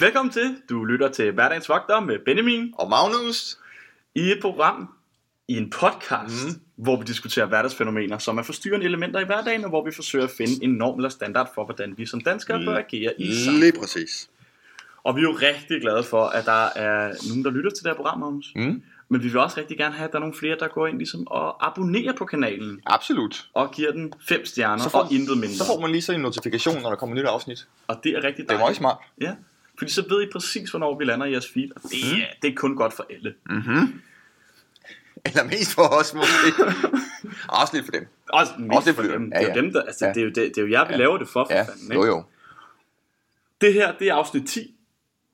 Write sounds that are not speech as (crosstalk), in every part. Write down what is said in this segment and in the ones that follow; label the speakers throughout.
Speaker 1: Velkommen til. Du lytter til Hverdagens Vogter med Benjamin
Speaker 2: Og Magnus,
Speaker 1: i et program, i en podcast,
Speaker 2: Mhm.
Speaker 1: mm. hvor vi diskuterer hverdagsfænomener, som er forstyrrende elementer i hverdagen, og hvor vi forsøger at finde en norm eller standard for, hvordan vi som danskere
Speaker 2: Mm.
Speaker 1: bør agere i samfundet.
Speaker 2: lige præcis.
Speaker 1: Og vi er jo rigtig glade for, at der er nogen, der lytter til det her program, Magnus.
Speaker 2: Mm.
Speaker 1: Men vi vil også rigtig gerne have, at der er nogle flere, der går ind ligesom, og abonnerer på kanalen
Speaker 2: Absolut.
Speaker 1: og giver den fem stjerner og intet mindre.
Speaker 2: så får man lige sådan en notifikation, når der kommer et nyt afsnit.
Speaker 1: Og det er rigtig
Speaker 2: Det er meget
Speaker 1: dejligt.
Speaker 2: smart.
Speaker 1: Ja, fordi så ved I præcis, hvornår vi lander i jeres feed, og det, er,
Speaker 2: Mm.
Speaker 1: det er kun godt for alle.
Speaker 2: Eller mest for os (laughs) måske. Og Også lidt for dem.
Speaker 1: Også, mest
Speaker 2: det
Speaker 1: for
Speaker 2: flytter.
Speaker 1: dem.
Speaker 2: Ja,
Speaker 1: Det er jo
Speaker 2: ja.
Speaker 1: dem, der, altså,
Speaker 2: Ja.
Speaker 1: det, er jo, det, det er jo jer, vi laver det for, for
Speaker 2: Ja,
Speaker 1: fanden,
Speaker 2: jo
Speaker 1: ikke?
Speaker 2: jo.
Speaker 1: Det her, det er afsnit 10.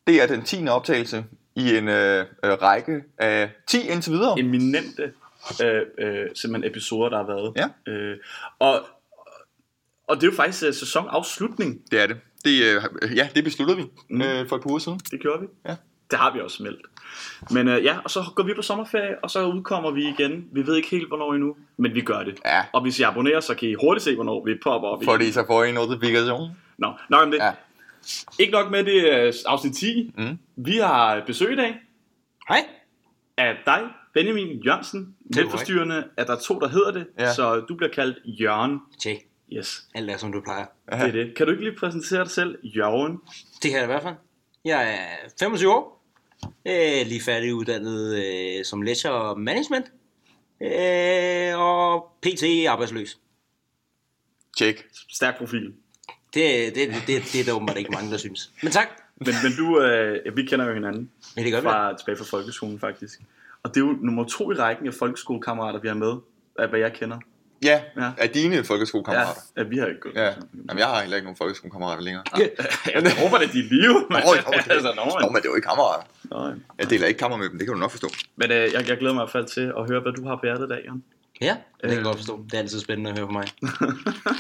Speaker 2: Det er den 10. optagelse i en øh, øh, række af 10 indtil videre.
Speaker 1: Eminente øh, øh, simpelthen episoder, der har været.
Speaker 2: Ja.
Speaker 1: Øh, og, og det er jo faktisk øh, sæsonafslutning.
Speaker 2: Det er det. det øh, ja, det besluttede vi øh, for et par uger siden.
Speaker 1: Det gjorde vi.
Speaker 2: Ja.
Speaker 1: Det har vi også meldt. Men øh, ja, og så går vi på sommerferie, og så udkommer vi igen. Vi ved ikke helt, hvornår endnu, men vi gør det.
Speaker 2: Ja.
Speaker 1: Og hvis I abonnerer, så kan I hurtigt se, hvornår vi popper op igen.
Speaker 2: Fordi så får I en notifikation.
Speaker 1: Nå, nok om det.
Speaker 2: Ja.
Speaker 1: Ikke nok med det øh, afsnit 10.
Speaker 2: Mm.
Speaker 1: Vi har besøg i dag
Speaker 2: Hej.
Speaker 1: af dig, Benjamin Jørgensen. Lidt
Speaker 3: mig.
Speaker 1: forstyrrende, at der er to, der hedder det,
Speaker 2: Ja.
Speaker 1: så du bliver kaldt Jørgen.
Speaker 3: Tjek.
Speaker 1: Yes,
Speaker 3: Alt er, som du plejer.
Speaker 1: det er det. Kan du ikke lige præsentere dig selv, Jørgen?
Speaker 3: Det kan jeg i hvert fald. Jeg er 25 år. Øh, lige færdig uddannet øh, som ledger og management. Øh, og pt. arbejdsløs.
Speaker 2: Tjek.
Speaker 1: Stærk profil.
Speaker 3: Det, det, det, det, det er der åbenbart ikke mange, der synes. Men tak.
Speaker 1: Men, men du, øh, ja, vi kender jo hinanden
Speaker 3: Ja, det gør vi.
Speaker 1: fra, tilbage fra folkeskolen faktisk. Og det er jo nummer to i rækken af folkeskolekammerater, vi har med, af hvad jeg kender.
Speaker 2: Ja,
Speaker 1: Ja.
Speaker 2: af dine folkeskolekammerater.
Speaker 1: Ja, vi har ikke gået.
Speaker 2: Ja. Jamen, jeg har heller ikke nogen folkeskolekammerater længere.
Speaker 1: Jeg håber, det er dit liv.
Speaker 2: Nå, jo, det,
Speaker 1: altså, nå,
Speaker 2: nå, men det er jo ikke kammerater.
Speaker 1: nå,
Speaker 2: Jeg deler ikke kammer med dem, det kan du nok forstå.
Speaker 1: Men øh, jeg, jeg glæder mig i hvert fald til at høre, hvad du har på hjertet i dag, Jørgen.
Speaker 3: Ja, det kan
Speaker 1: Øh.
Speaker 3: jeg godt forstå. Det er altid spændende at høre fra mig.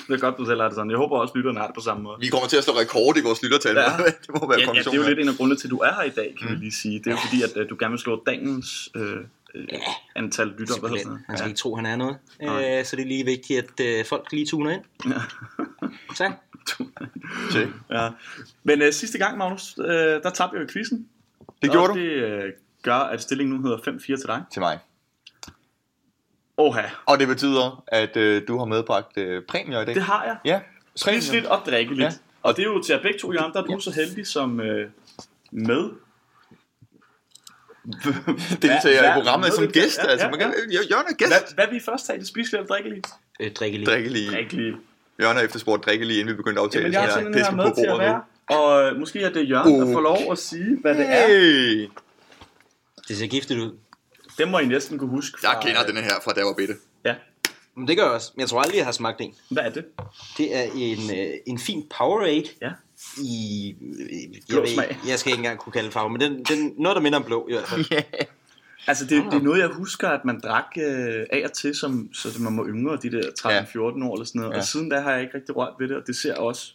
Speaker 1: det er godt, du selv har det sådan. Jeg håber også, lytterne har det på samme måde.
Speaker 2: Vi kommer til at slå rekord i vores lyttertal.
Speaker 1: Ja.
Speaker 2: Ja. (laughs) det må være
Speaker 1: Ja, ja, det er jo
Speaker 2: konklusionen.
Speaker 1: lidt en af grundene til, at du er her i dag, kan mm. vi lige sige. Det er jo fordi, at øh, du gerne vil slå dagens øh, øh, antal lytter. Hvad hedder
Speaker 3: Simpelthen.
Speaker 1: sådan
Speaker 3: Han skal
Speaker 1: noget?
Speaker 3: ikke tro, han er noget.
Speaker 1: Nej.
Speaker 3: Øh, så det er lige vigtigt, at øh, folk lige tuner ind.
Speaker 1: Ja.
Speaker 3: (laughs) Tak.
Speaker 2: Tjek.
Speaker 1: ja. Men øh, sidste gang, Magnus, øh, der tabte jeg jo quizzen.
Speaker 2: Det gjorde
Speaker 1: og
Speaker 2: du
Speaker 1: det øh, gør, at stillingen nu hedder 5-4 til dig.
Speaker 2: til mig.
Speaker 1: Oha,
Speaker 2: Og det betyder, at øh, du har medbragt øh, præmier i dag.
Speaker 1: det har jeg.
Speaker 2: Ja,
Speaker 1: Spiseligt og drikkeligt.
Speaker 2: Ja.
Speaker 1: Ja. Og det er jo til jer begge to, Jørgen, der er du så heldig som øh, med.
Speaker 2: Deltager
Speaker 1: Hva-
Speaker 2: i programmet
Speaker 1: hva-
Speaker 2: som
Speaker 1: medvirker-
Speaker 2: gæst.
Speaker 1: ja,
Speaker 2: Altså,
Speaker 1: ja,
Speaker 2: man kan,
Speaker 1: ja.
Speaker 2: Øh, Jørgen er gæst.
Speaker 1: Hvad, hvad vi først tager i det spiselige eller drikkelige?
Speaker 3: Øh, drikke lige.
Speaker 2: Drikke lige.
Speaker 1: Drikkelige.
Speaker 2: Jørgen har efterspurgt drikke lige, inden vi begyndte at aftale.
Speaker 1: Jamen, jeg har
Speaker 2: så
Speaker 1: tænkt den her
Speaker 2: pisken
Speaker 1: med til at være. Og øh, måske er det Jørgen, der
Speaker 2: Uh.
Speaker 1: får lov at sige, hvad det er.
Speaker 2: Hey!
Speaker 3: Det ser giftigt ud.
Speaker 1: Det må I næsten kunne huske.
Speaker 2: Jeg
Speaker 1: fra-
Speaker 2: kender den her fra da jeg var bitte.
Speaker 1: Ja.
Speaker 3: Men det gør jeg også. Men Jeg tror aldrig, jeg har smagt en.
Speaker 1: Hvad er det?
Speaker 3: Det er en, øh, en fin Powerade
Speaker 1: Ja.
Speaker 3: i... øh, Jeg,
Speaker 1: Blå
Speaker 3: ved,
Speaker 1: smag.
Speaker 3: ikke- jeg skal ikke engang kunne kalde det farve, men den, den, noget, der minder om blå i (laughs) hvert fald.
Speaker 1: Altså, det, det er noget, jeg husker, at man drak øh, af og til, som, så det- man var yngre, de der 13-14 år eller sådan noget. Ja.
Speaker 2: Ja.
Speaker 1: Og siden da har jeg ikke rigtig rørt ved det, og det ser også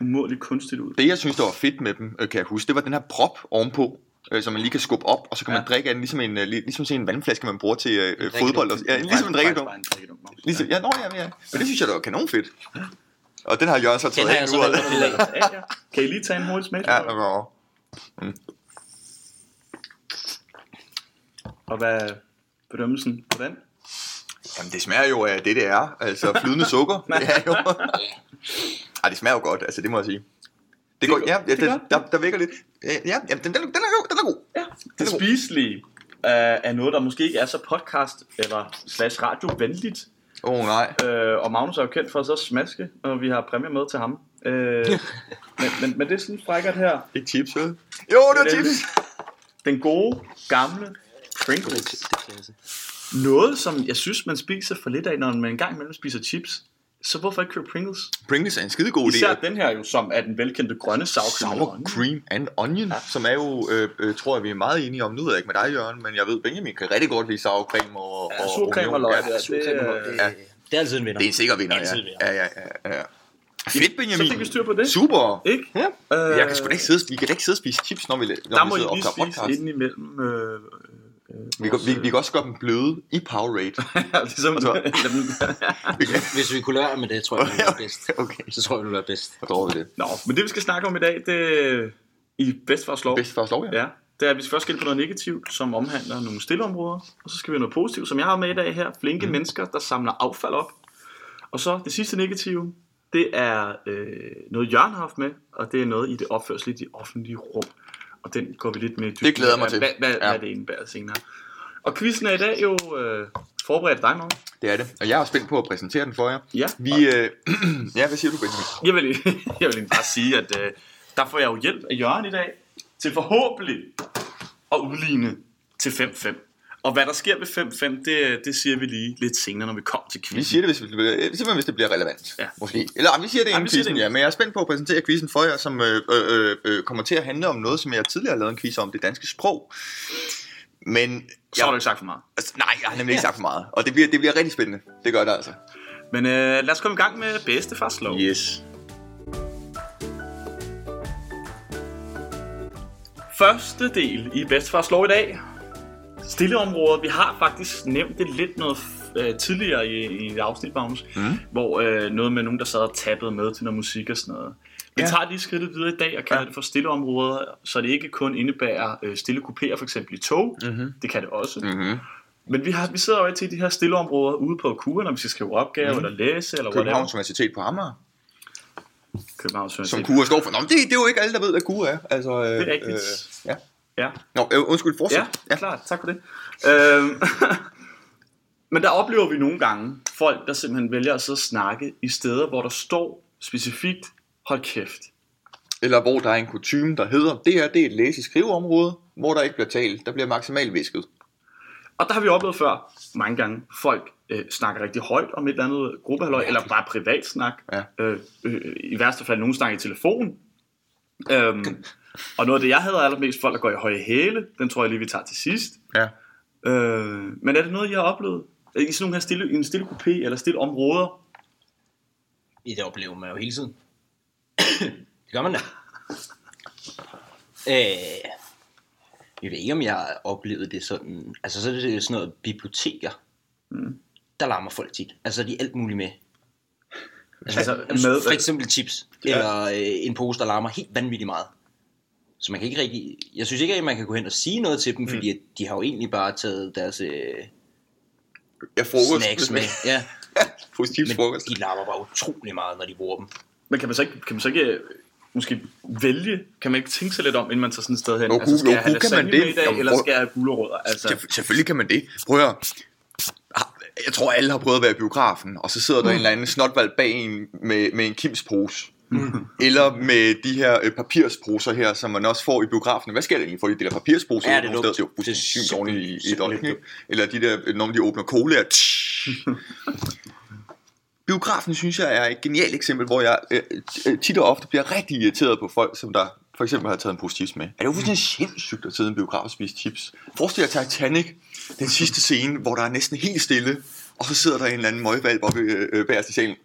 Speaker 1: umådeligt kunstigt ud.
Speaker 2: Det jeg synes, der var fedt med dem, øh, kan jeg huske, det var den her prop ovenpå, øh, som man lige kan skubbe op, og så kan
Speaker 1: Ja.
Speaker 2: man drikke af den, ligesom, en, øh, li- ligesom sådan en vandflaske, man bruger til øh, øh,
Speaker 3: drikkedunk.
Speaker 2: fodbold. Og, ja, ligesom en drikkedunk.
Speaker 1: Bare en drikkedunk.
Speaker 2: Ligesom, ja, nå, ja, ja. Men det synes jeg, der var kanon fedt. Og den har Jørgen så
Speaker 3: Den
Speaker 2: taget
Speaker 3: har
Speaker 2: af
Speaker 3: jeg
Speaker 2: nu.
Speaker 3: så valgt
Speaker 2: og-
Speaker 3: at (laughs) pille af.
Speaker 1: Ja, ja. Kan I lige tage en hurtig smag?
Speaker 2: Ja,
Speaker 1: Ja,
Speaker 2: nå, nå.
Speaker 1: Og hvad er bedømmelsen på den?
Speaker 2: Jamen, det smager jo af det, det er. Altså, flydende
Speaker 1: (laughs)
Speaker 2: sukker. det er jo. Ej, det smager jo godt, altså, det må jeg sige. Det, går,
Speaker 1: gør-
Speaker 2: ja, ja
Speaker 1: det gør
Speaker 2: den, der, der vækker lidt. Øh, Ja, ja den, den, den, er god, den er god.
Speaker 1: Ja, det spiselige øh, er noget, der måske ikke er så podcast- eller slash radiovenligt.
Speaker 2: Åh, oh, nej.
Speaker 1: Øh, og Magnus er jo kendt for at så smaske, når vi har præmier med til ham.
Speaker 2: (laughs)
Speaker 1: Øh, men, men, men det er sådan frækkert her.
Speaker 2: Ikke chips, vel? Jo, det var
Speaker 1: Det er
Speaker 2: chips.
Speaker 1: Den gode, gamle Pringles.
Speaker 2: altså-
Speaker 1: Noget, som jeg synes, man spiser for lidt af, når man engang imellem spiser chips. Så hvorfor ikke købe Pringles?
Speaker 2: Pringles er en skidegod idé.
Speaker 1: Især
Speaker 2: og
Speaker 1: den her jo, som er den velkendte grønne sour cream.
Speaker 2: Sour cream and onion, ja. som er jo, øh, øh, tror jeg, vi er meget enige om. Nu ved jeg ikke med dig, Jørgen, men jeg ved, Benjamin kan rigtig godt lide sour cream og,
Speaker 1: Ja,
Speaker 2: og
Speaker 1: surcreme og
Speaker 2: onion.
Speaker 1: løg.
Speaker 2: Ja, altså-
Speaker 1: der,
Speaker 3: Surcreme og løg,
Speaker 1: det,
Speaker 3: det,
Speaker 2: ja.
Speaker 3: det er altid en vinder.
Speaker 2: det er en sikker vinder,
Speaker 3: Altid
Speaker 2: ja. Ja, ja, ja, ja. Fedt, Benjamin.
Speaker 1: Så fik vi styr på det.
Speaker 2: Super.
Speaker 1: Ikke?
Speaker 3: Ja.
Speaker 1: Øh,
Speaker 2: Jeg kan sgu da ikke sidde, vi kan da ikke sidde og spise chips, når vi, når
Speaker 1: Der må
Speaker 2: vi
Speaker 1: I
Speaker 2: sidder og
Speaker 1: lige
Speaker 2: optager
Speaker 1: spise
Speaker 2: podcast.
Speaker 1: inden imellem. Øh, øh,
Speaker 2: Vi kan,
Speaker 1: (laughs)
Speaker 2: vi, vi kan også gøre dem bløde i Powerade.
Speaker 1: ligesom,
Speaker 2: Altså- (laughs) Vi kan-
Speaker 3: Hvis vi kunne lære med
Speaker 2: (laughs)
Speaker 3: det, tror jeg, det ville være bedst.
Speaker 2: okay,
Speaker 3: Så tror jeg, det ville være bedst.
Speaker 2: så tror vi det.
Speaker 1: Nå, men det vi skal snakke om i dag, det, I bedstfars lov.
Speaker 2: Bedst for lov, ja.
Speaker 1: Ja, det er, at vi skal først skille på noget negativt, som omhandler nogle stilleområder, og så skal vi have noget positivt, som jeg har med i dag her. Flinke mm. mennesker, der samler affald op. Og så det sidste negative, det er øh, noget, Jørgen har haft med, og det er noget i det opførsel i det offentlige rum. Og den går vi lidt mere i dybden
Speaker 2: Det glæder jeg mig
Speaker 1: af,
Speaker 2: til.
Speaker 1: Hvad, hvad, ja.
Speaker 2: Ja.
Speaker 1: hvad det indebærer senere. Og quizzen er i dag jo øh, forberedt dig, Morten.
Speaker 2: Det er det. Og jeg er spændt på at præsentere den for jer.
Speaker 1: Ja.
Speaker 2: Vi, øh, (clears throat) ja, hvad siger du, Benjamin?
Speaker 1: (laughs) Jeg vil, jeg vil egentlig bare sige, at øh, der får jeg jo hjælp af Jørgen i dag til forhåbentlig at udligne til 5-5. Og hvad der sker ved 5-5, det, det siger vi lige lidt senere, når vi kommer til
Speaker 2: Vi
Speaker 1: quizzen.
Speaker 2: siger det, hvis, vi, øh, simpelthen, hvis det bliver relevant.
Speaker 1: Ja.
Speaker 2: Måske. Eller ej, vi siger det inden
Speaker 1: vi
Speaker 2: vi
Speaker 1: siger det
Speaker 2: quizzen,
Speaker 1: inden.
Speaker 2: ja. Men jeg er spændt på at præsentere quizzen for jer, som øh, øh, øh, kommer til at handle om noget, som jeg tidligere har lavet en quiz om, det danske sprog. Men
Speaker 1: Så har du
Speaker 2: jeg,
Speaker 1: ikke sagt for meget.
Speaker 2: altså, nej, jeg har nemlig ikke sagt for meget. Og det bliver, det bliver rigtig spændende. Det gør det altså.
Speaker 1: Men øh, lad os komme i gang med bedstefars lov. Yeah.
Speaker 2: Yes.
Speaker 1: Første del i bedstefars lov i dag. Stille områder. Vi har faktisk nævnt det lidt noget øh, tidligere i, i et afsnit, Magnus, mm. hvor øh, noget med nogen, der sad og tappede med til noget musik og sådan noget. Vi ja.
Speaker 2: Ja.
Speaker 1: tager lige skridtet videre i dag og kalder ja.
Speaker 2: Ja.
Speaker 1: det for stille områder, så det ikke kun indebærer øh, stille kupéer, for eksempel i tog. Mm-hmm. Det kan det også. Mm.
Speaker 2: Mm-hmm.
Speaker 1: Men vi, har, vi sidder jo altid i de her stille områder ude på kuren, når vi skal skrive opgaver mm. eller læse eller whatever.
Speaker 2: Københavns Universitet på Amager,
Speaker 1: Københavns
Speaker 2: som
Speaker 1: Universitet.
Speaker 2: KUA står for. Nå, men det, det er jo ikke alle, der ved, hvad KUA er. Altså, øh,
Speaker 1: Det er rigtigt.
Speaker 2: Øh, ja.
Speaker 1: Ja.
Speaker 2: Nå, øh, undskyld, fortsæt.
Speaker 1: Ja, ja. klart. Tak for det. Øhm, (laughs) men der oplever vi nogle gange folk, der simpelthen vælger at sidde og snakke i steder, hvor der står specifikt, hold kæft.
Speaker 2: Eller hvor der er en kutume, der hedder, det her det er et læse-skriveområde, hvor der ikke bliver talt, der bliver maksimalt visket.
Speaker 1: Og der har vi oplevet før mange gange, folk øh, snakker rigtig højt om et eller andet gruppehalløj, eller bare privat snak.
Speaker 2: Ja.
Speaker 1: Øh, øh, I værste fald, nogen snakker i telefon. Øhm, og noget af det, jeg hader allermest, folk, der går i høje hæle, den tror jeg lige, vi tager til sidst.
Speaker 2: Ja.
Speaker 1: Øh, men er det noget, I har oplevet? I sådan nogle her stille, i en stille kupé eller stille områder,
Speaker 3: I det oplever man jo hele tiden. (coughs) det gør man da. Øh, jeg ved ikke, om jeg oplevede det sådan... Altså, så er det sådan noget biblioteker. Mm. Der larmer folk tit. Altså, de er alt muligt med. Altså,
Speaker 1: Altså,
Speaker 3: altså
Speaker 1: med-
Speaker 3: med, for eksempel chips.
Speaker 1: Ja.
Speaker 3: Ja. Eller øh, en pose, der larmer helt vanvittigt meget. Så man kan ikke rigtig... Jeg synes ikke, at man kan gå hen og sige noget til dem, fordi at de har jo egentlig bare taget deres øh,
Speaker 2: Jeg frokost.
Speaker 3: snacks med. (laughs) Ja,
Speaker 2: Positiv
Speaker 3: men
Speaker 2: frokost.
Speaker 3: de larmer bare utrolig meget, når de bruger dem.
Speaker 1: Men kan man så ikke, kan man så ikke øh, måske vælge, kan man ikke tænke sig lidt om, inden man tager sådan et sted hen?
Speaker 2: Jo,
Speaker 1: altså, skal
Speaker 2: jo,
Speaker 1: jeg have
Speaker 2: jo, kan man
Speaker 1: lasagne
Speaker 2: det?
Speaker 1: med i dag,
Speaker 2: Jamen,
Speaker 1: eller
Speaker 2: prøv-
Speaker 1: skal jeg have gulerødder? Altså,
Speaker 2: Selv- Selvfølgelig kan man det. Prøv at høre. Ah, Jeg tror, alle har prøvet at være i biografen, og så sidder der en eller anden snotvalg bag en med, med en kimspose. Eller med de her øh, papirsposer her, som man også får i biografen. Hvad sker der egentlig for de der papirsposer?
Speaker 3: Ja, det er
Speaker 2: Nogle steder,
Speaker 3: dumt.
Speaker 2: Det er jo fuldstændig
Speaker 3: Det
Speaker 2: sygt
Speaker 3: er
Speaker 2: ordentligt i- i et
Speaker 3: simpelthen
Speaker 2: øjeblik. ikke? Eller de der, øh, når de åbner cola. og tsh. Biografen synes jeg er et genialt eksempel, hvor jeg øh, øh, tit og ofte bliver rigtig irriteret på folk, som der for eksempel har taget en pose chips med. Er det jo fuldstændig sindssygt at sidde i en biograf og spise chips? Forestil jer Titanic, den sidste scene, hvor der er næsten helt stille, og så sidder der en eller anden møgvalp oppe øh, øh, bagerst i salen.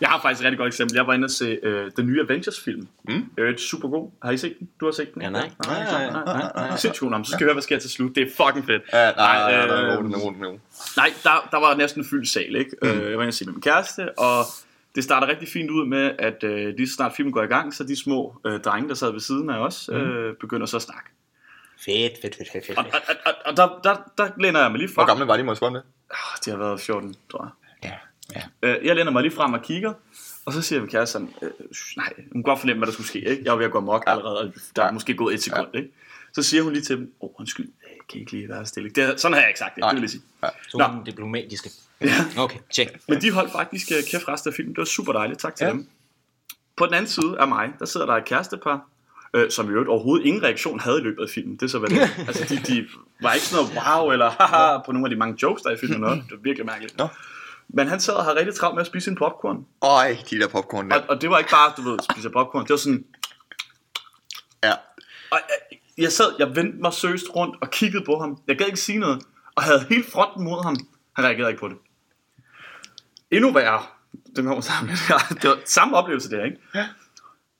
Speaker 1: jeg har faktisk et rigtig godt eksempel. Jeg var inde og se øh, den nye Avengers-film. Mm. Øh, super god. Har I set den? Du har set den?
Speaker 3: Ja,
Speaker 1: ikke?
Speaker 3: nej.
Speaker 1: nej,
Speaker 3: Nej,
Speaker 1: nej, nej,
Speaker 3: nej,
Speaker 1: nej, nej. Sindssygt god. Nå, men Så skal vi høre, hvad sker til slut. Det er fucking fedt.
Speaker 2: Ja, nej, nej,
Speaker 1: øh,
Speaker 2: nej, nej, nej, nej, nej.
Speaker 1: Nej, der, der var næsten fyldt sal, ikke? Mm. Øh, jeg var inde og se med min kæreste, og det starter rigtig fint ud med, at øh, lige så snart filmen går i gang, så de små øh, drenge, der sad ved siden af os,
Speaker 2: Mm.
Speaker 1: øh, begynder så at snakke.
Speaker 3: Fedt, fedt, fedt, fedt, fedt.
Speaker 1: Og, og, og, og, og der, der, der læner jeg mig lige
Speaker 2: Hvor
Speaker 1: frem.
Speaker 2: gamle var de, må jeg spørge om det?
Speaker 1: Ah, Det har været 14, tror jeg.
Speaker 2: Ja, ja.
Speaker 1: Øh, Jeg læner mig lige frem og kigger, og så siger min kæreste sådan, øh, nej, hun kan godt fornemme, hvad der skulle ske. Ikke? Jeg var ved at gå amok allerede, og der er måske gået et sekund. Ikke? Så siger hun lige til dem, åh, oh, undskyld, øh, kan I ikke lige være stille? Det, er- sådan har jeg ikke sagt det, det
Speaker 2: Nej.
Speaker 1: vil jeg sige.
Speaker 2: Ja.
Speaker 3: Så
Speaker 1: Nå.
Speaker 3: den diplomatiske. Okay, tjek.
Speaker 1: Men de holdt faktisk øh, kæft resten af filmen. Det var super dejligt. Tak til ja.
Speaker 2: Ja.
Speaker 1: dem. På den anden side af mig, der sidder der et kærestepar, øh, som i øvrigt overhovedet ingen reaktion havde i løbet af filmen. Det er så hvad det er. Altså, de, de var ikke sådan noget wow eller haha på nogle af de mange jokes, der er i filmen. Noget. Det var virkelig mærkeligt.
Speaker 2: Nå.
Speaker 1: Men han sad og havde rigtig travlt med at spise sin popcorn.
Speaker 2: Øj, de der popcorn der.
Speaker 1: Og, og det var ikke bare, du ved, spise popcorn. Det var sådan,
Speaker 2: Ja.
Speaker 1: og jeg, jeg sad, jeg vendte mig søst rundt og kiggede på ham. Jeg gad ikke sige noget, og havde hele fronten mod ham. Han reagerede ikke på det. Endnu værre, den kommer (laughs) sammen. det var samme oplevelse der, ikke? Ja.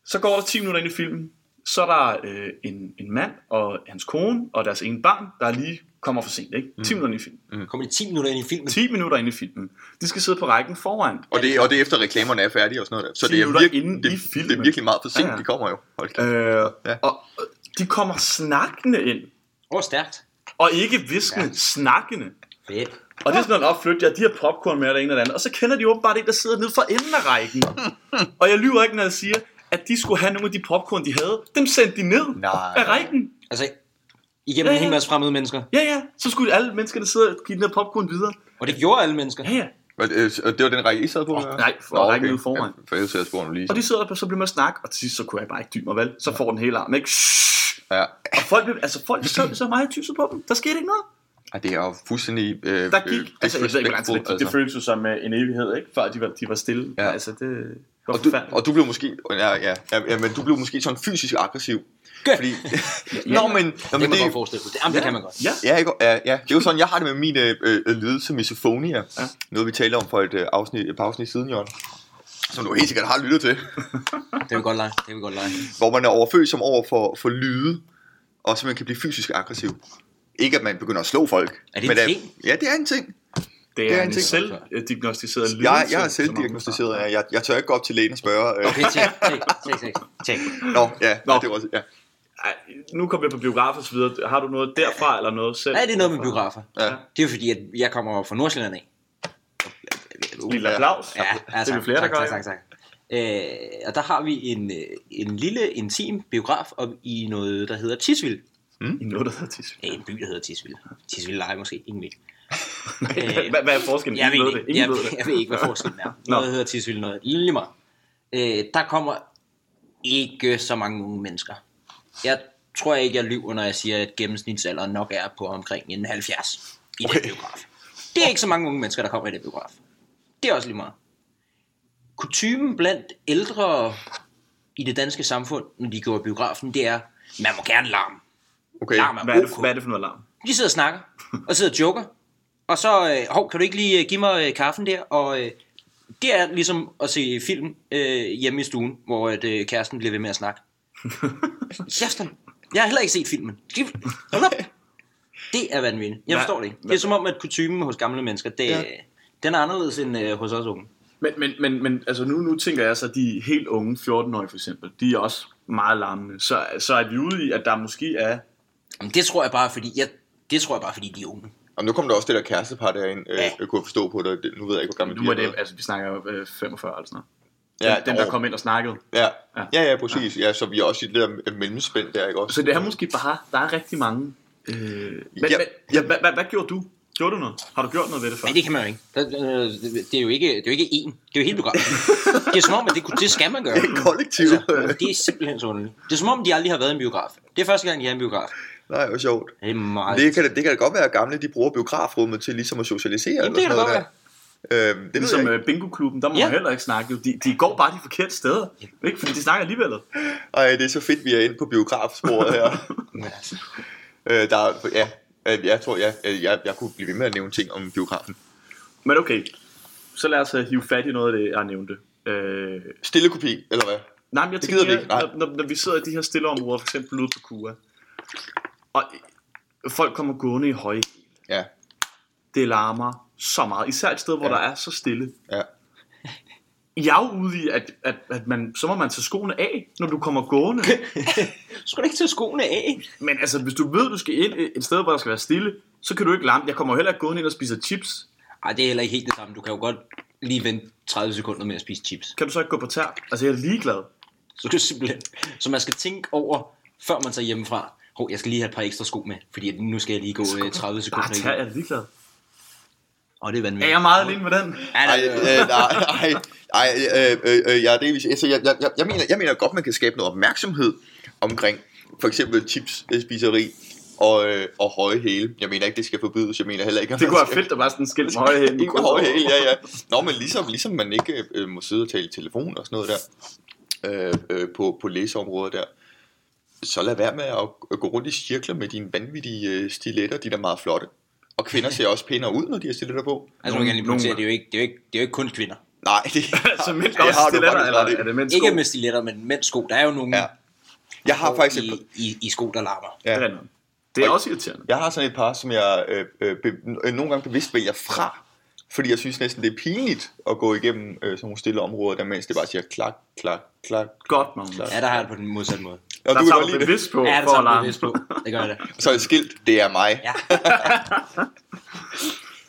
Speaker 1: Så går der 10 minutter ind i filmen, så er der øh, en, en mand og hans kone og deres ene barn, der er lige kommer for sent, ikke? 10 minutter ind i filmen.
Speaker 3: Kommer de 10 minutter ind i filmen?
Speaker 1: 10 minutter ind i filmen. De skal sidde på rækken foran.
Speaker 2: Og det, og det er efter reklamerne er færdige og sådan noget der. Så
Speaker 1: 10
Speaker 2: det er,
Speaker 1: minutter
Speaker 2: virkelig,
Speaker 1: inde
Speaker 2: det,
Speaker 1: i filmen.
Speaker 2: det er virkelig meget for sent,
Speaker 1: Ja, ja.
Speaker 2: de kommer jo. Hold kæft.
Speaker 1: Øh,
Speaker 2: Ja.
Speaker 1: ja. Og øh, de kommer snakkende ind.
Speaker 3: Åh, oh, stærkt.
Speaker 1: Og ikke viskende, ja. snakkende.
Speaker 3: Fedt.
Speaker 1: Og det er sådan noget opflyt, ja, de har popcorn med og det ene og det andet. Og så kender de åbenbart en, der sidder nede for enden af rækken. Og jeg lyver ikke, når jeg siger, at de skulle have nogle af de popcorn, de havde. Dem sendte de ned
Speaker 2: Nej.
Speaker 1: af rækken.
Speaker 3: Altså, igennem
Speaker 1: Ja,
Speaker 3: en hel
Speaker 1: ja.
Speaker 3: masse fremmede mennesker.
Speaker 1: Ja, ja. Så skulle alle mennesker, der sidder og give den her popcorn videre.
Speaker 3: Og det gjorde alle mennesker.
Speaker 1: Ja, ja.
Speaker 2: Og, øh, og det var den række, I sad på? eller?
Speaker 1: nej, for
Speaker 2: Nå,
Speaker 1: rækken ude foran.
Speaker 2: Ja, for ellers havde jeg spurgt nu lige.
Speaker 1: Og de sidder der, så bliver man snak, og til sidst så kunne jeg bare ikke dybe mig, vel? Så får den hele armen, ikke? Shhh.
Speaker 2: Ja.
Speaker 1: Og folk, blev- altså folk så, så meget tyset på dem. Der skete ikke noget.
Speaker 2: Ej, det er jo fuldstændig... Øh,
Speaker 1: Der gik,
Speaker 2: øh,
Speaker 1: altså jeg ved ikke, hvordan
Speaker 2: disrespectful,
Speaker 1: det, det, det føltes jo som øh, en evighed, ikke? Før de var, de var stille.
Speaker 2: Ja.
Speaker 1: Ja. Altså det var
Speaker 2: Og du,
Speaker 1: forfærdeligt.
Speaker 2: og du blev måske, ja, ja, ja, ja, men du blev måske sådan fysisk aggressiv.
Speaker 3: Gør.
Speaker 2: Fordi, (laughs) nå, men, nå,
Speaker 3: Det kan
Speaker 2: men det,
Speaker 3: man godt forestille sig. Det, jamen, det kan man godt.
Speaker 1: Ja,
Speaker 2: Ja, ikke? Ja, ja, det er jo sådan, jeg har det med min øh, øh, lidelse misofonia. Ja. Noget, vi talte om for et, øh, afsnit, et par afsnit siden, Jørgen. Som du helt sikkert har lyttet til.
Speaker 3: Det vil vi godt lege. Det vil vi godt lege.
Speaker 2: Hvor man er overfølsom over for, for lyde, og så man kan blive fysisk aggressiv. Ikke at man begynder at slå folk.
Speaker 3: Er det en
Speaker 2: at-
Speaker 3: ting?
Speaker 2: Ja, det er en ting.
Speaker 1: det er,
Speaker 2: det er
Speaker 1: det er
Speaker 2: en
Speaker 1: en
Speaker 2: ting.
Speaker 1: selvdiagnostiseret lidelse.
Speaker 2: Jeg, jeg er
Speaker 1: som
Speaker 2: selvdiagnostiseret. Jeg, jeg, jeg tør ikke gå op til lægen og spørge. Øh,
Speaker 3: Okay, tjek, tjek, tjek, tjek, tjek.
Speaker 2: Nå, ja,
Speaker 1: Nå.
Speaker 2: Nå. det var også, ja.
Speaker 1: Ej, nu kommer jeg på biograf og så videre. Har du noget derfra eller noget selv?
Speaker 3: Nej, det er noget med biografer.
Speaker 2: Ja.
Speaker 3: Det er jo fordi, at jeg kommer fra Nordsjælland af.
Speaker 1: Lille applaus.
Speaker 3: Ja,
Speaker 1: det
Speaker 3: altså,
Speaker 1: er vi flere,
Speaker 3: tak,
Speaker 1: der gør.
Speaker 3: tak, tak, tak. Øh, og der har vi en, øh, en lille intim biograf op i noget, der hedder Tisvild.
Speaker 1: I noget, der hedder tisse.
Speaker 3: Ja, Øh, en by, der hedder Tisvild. Tisvild leje måske,
Speaker 1: (laughs)
Speaker 3: ingen ved. det. Øh,
Speaker 1: Hvad, hvad er forskellen?
Speaker 3: Jeg
Speaker 1: Ingen
Speaker 3: ved,
Speaker 1: ved
Speaker 3: ikke,
Speaker 1: det.
Speaker 3: jeg,
Speaker 1: Ingen ved det.
Speaker 3: jeg ved
Speaker 1: (laughs)
Speaker 3: ikke, hvad forskellen er.
Speaker 1: Nå.
Speaker 3: Noget hedder Tisvild, noget lige meget. Øh, der kommer ikke så mange unge mennesker. Jeg tror ikke, jeg lyver, når jeg siger, at gennemsnitsalderen nok er på omkring en 70 i okay. den biograf. Det er ikke så mange unge mennesker, der kommer i den biograf. Det er også lige meget. Kutumen blandt ældre i det danske samfund, når de går i biografen, det er, man må gerne larme.
Speaker 2: Okay.
Speaker 3: Larm er
Speaker 1: Hvad er, det,
Speaker 3: ok.
Speaker 1: hvad er det for noget larm?
Speaker 3: De sidder og snakker, og sidder og joker. Og så, øh, hov, kan du ikke lige øh, give mig øh, kaffen der? Og øh, det er ligesom at se film øh, hjemme i stuen, hvor at, øh, kæresten bliver ved med at snakke. Kæresten, jeg har heller ikke set filmen. Skal vi- Hold op. Det er vanvittigt. Jeg
Speaker 1: Hvad-
Speaker 3: forstår det ikke. Det er
Speaker 1: hvad-
Speaker 3: som om, at kutumen hos gamle mennesker, det, ja. den er anderledes end øh, hos os unge.
Speaker 1: Men, men, men, men altså nu, nu tænker jeg så, at de helt unge, 14-årige for eksempel, de er også meget larmende. Så, så er vi ude i, at der måske er...
Speaker 3: Jamen, det tror jeg bare, fordi jeg, det tror jeg bare, fordi de er unge.
Speaker 2: Og nu kom der også det der kærestepar derind, øh,
Speaker 3: Ja.
Speaker 2: jeg kunne jeg forstå på dig. Det- Nu ved jeg ikke, hvor gammel
Speaker 1: Nu er
Speaker 2: de
Speaker 1: det, altså vi snakker jo øh, 45 eller sådan noget.
Speaker 2: Ja,
Speaker 1: Ja, dem, der kom ind og snakkede.
Speaker 2: Ja,
Speaker 1: Ja.
Speaker 2: ja, ja præcis. Ja. så vi er også i det der mellemspænd der, ikke også?
Speaker 1: Så det er måske bare, der er rigtig mange... Øh, men,
Speaker 2: Ja,
Speaker 1: ja, men,
Speaker 2: ja.
Speaker 1: ja. Hvad, hvad, hvad gjorde du? Gjorde du noget? Har du gjort noget ved det før?
Speaker 3: Nej, det kan man jo ikke. Der- øh, Det er jo ikke, det er jo ikke én. Det er jo hele programmet. Det er som om, at det, kunne- det skal man gøre.
Speaker 2: (laughs) kollektiv.
Speaker 3: Altså, det er simpelthen så underligt. Det er som om, de aldrig har været i en biograf. Det er første gang, de er i en biograf.
Speaker 2: (laughs) Nej, hvor sjovt.
Speaker 3: Det er meget...
Speaker 2: Det kan, da- det kan da godt være, at gamle de bruger biografrummet til ligesom at socialisere.
Speaker 3: Jamen, det kan da godt være.
Speaker 2: være. Øhm, det ved
Speaker 1: Ligesom
Speaker 2: jeg
Speaker 1: øh, bingo-klubben, der må
Speaker 3: Ja.
Speaker 1: ja. man heller ikke snakke. jo. De, de går bare de forkerte steder. Ikke? Fordi de snakker alligevel.
Speaker 2: ikke. Ej, det er så fedt, vi er inde på biografsporet her.
Speaker 3: altså,
Speaker 2: øh, der, er- ja, øh, jeg tror, ja, øh, jeg, jeg kunne blive ved med at nævne ting om biografen.
Speaker 1: Men okay, så lad os øh, hive fat i noget af det, jeg nævnte. Øh,
Speaker 2: Stille kopi, eller hvad?
Speaker 1: nej, men jeg
Speaker 2: Det
Speaker 1: tænker,
Speaker 2: gider vi ikke, nej.
Speaker 1: Når, når, når vi sidder i de her stille områder, for eksempel ude på Kua, og øh, folk kommer gående i høje,
Speaker 2: Ja,
Speaker 1: det larmer så meget. Især et sted, hvor
Speaker 2: Ja.
Speaker 1: ja. der er så stille.
Speaker 2: ja.
Speaker 1: Jeg er jo ude i, at, at, at man, så må man tage skoene af, når du kommer gående.
Speaker 2: (laughs)
Speaker 3: Skulle du ikke tage skoene af?
Speaker 1: Men altså, hvis du ved, du skal ind et sted, hvor der skal være stille, så kan du ikke larme. Jeg kommer jo heller ikke gående ind og spiser chips.
Speaker 3: Ej, det er heller ikke helt det samme. Du kan jo godt lige vente 30 sekunder med at spise chips.
Speaker 1: Kan du så ikke gå på tær? Altså, jeg er ligeglad.
Speaker 3: Så, det er simpelthen... så man skal tænke over, før man tager hjemmefra. Hov, jeg skal lige have et par ekstra sko med, fordi at nu skal jeg lige gå øh, 30
Speaker 1: Bare
Speaker 3: sekunder.
Speaker 1: Ah, tær,
Speaker 3: igen.
Speaker 1: jeg er ligeglad.
Speaker 3: Og det er
Speaker 1: Er
Speaker 3: vanvittigt.
Speaker 1: jeg meget alene med den?
Speaker 3: Ja,
Speaker 2: Ej,
Speaker 3: der-
Speaker 2: øh, nej, (laughs) ej, ej, øh, øh, øh, jeg er delvis, altså, jeg, jeg, jeg, jeg, mener, jeg mener godt, man kan skabe noget opmærksomhed omkring for eksempel chipsspiseri og, øh, og høje hæle. Jeg mener ikke, det skal forbydes. Jeg mener heller ikke, at
Speaker 1: Det
Speaker 2: man
Speaker 1: kunne være
Speaker 2: skal-
Speaker 1: fedt, der var sådan en skilt med høje hæl.
Speaker 2: (laughs) Ikke med høje hæle, ja, ja. Nå, men ligesom, ligesom man ikke øh, må sidde og tale i telefon og sådan noget der øh, øh, på, på læseområdet der, så lad være med at, at gå rundt i cirkler med dine vanvittige øh, stiletter, de der er meget flotte. Og kvinder ser også pænere ud, når de har stiletter på.
Speaker 3: Altså, man kan lige
Speaker 1: Nogen-
Speaker 3: pointere, det er jo ikke, det er jo ikke, det er jo ikke kun kvinder.
Speaker 2: Nej, det,
Speaker 1: (laughs) Altså, mænd
Speaker 2: det
Speaker 1: også
Speaker 2: har du
Speaker 1: stiletter,
Speaker 2: faktisk
Speaker 1: eller
Speaker 2: ret i.
Speaker 1: er det mænd sko?
Speaker 3: Ikke med stiletter, men mænds sko. Der er jo nogle
Speaker 2: Ja. Jeg har
Speaker 3: sko
Speaker 2: faktisk et,
Speaker 3: i, i, i, sko, der larmer.
Speaker 2: ja,
Speaker 1: Ja. Det er også irriterende.
Speaker 2: Jeg har sådan et par, som jeg øh, øh, be, øh, nogle gange bevidst vælger fra, fordi jeg synes næsten, det er pinligt at gå igennem øh, sådan nogle stille områder, der mens det bare siger klak, klak, klak.
Speaker 1: Godt, Magnus.
Speaker 2: klak.
Speaker 3: Ja, der har jeg det på den modsatte måde.
Speaker 1: Der
Speaker 2: Og du kan
Speaker 1: tager
Speaker 2: godt
Speaker 1: du
Speaker 2: lide det.
Speaker 1: bevidst på
Speaker 3: Ja, det
Speaker 1: for
Speaker 3: tager
Speaker 1: at
Speaker 3: jeg
Speaker 1: larme.
Speaker 3: bevidst på. Det gør jeg da.
Speaker 2: Så er et skilt, det er mig.
Speaker 3: Ja.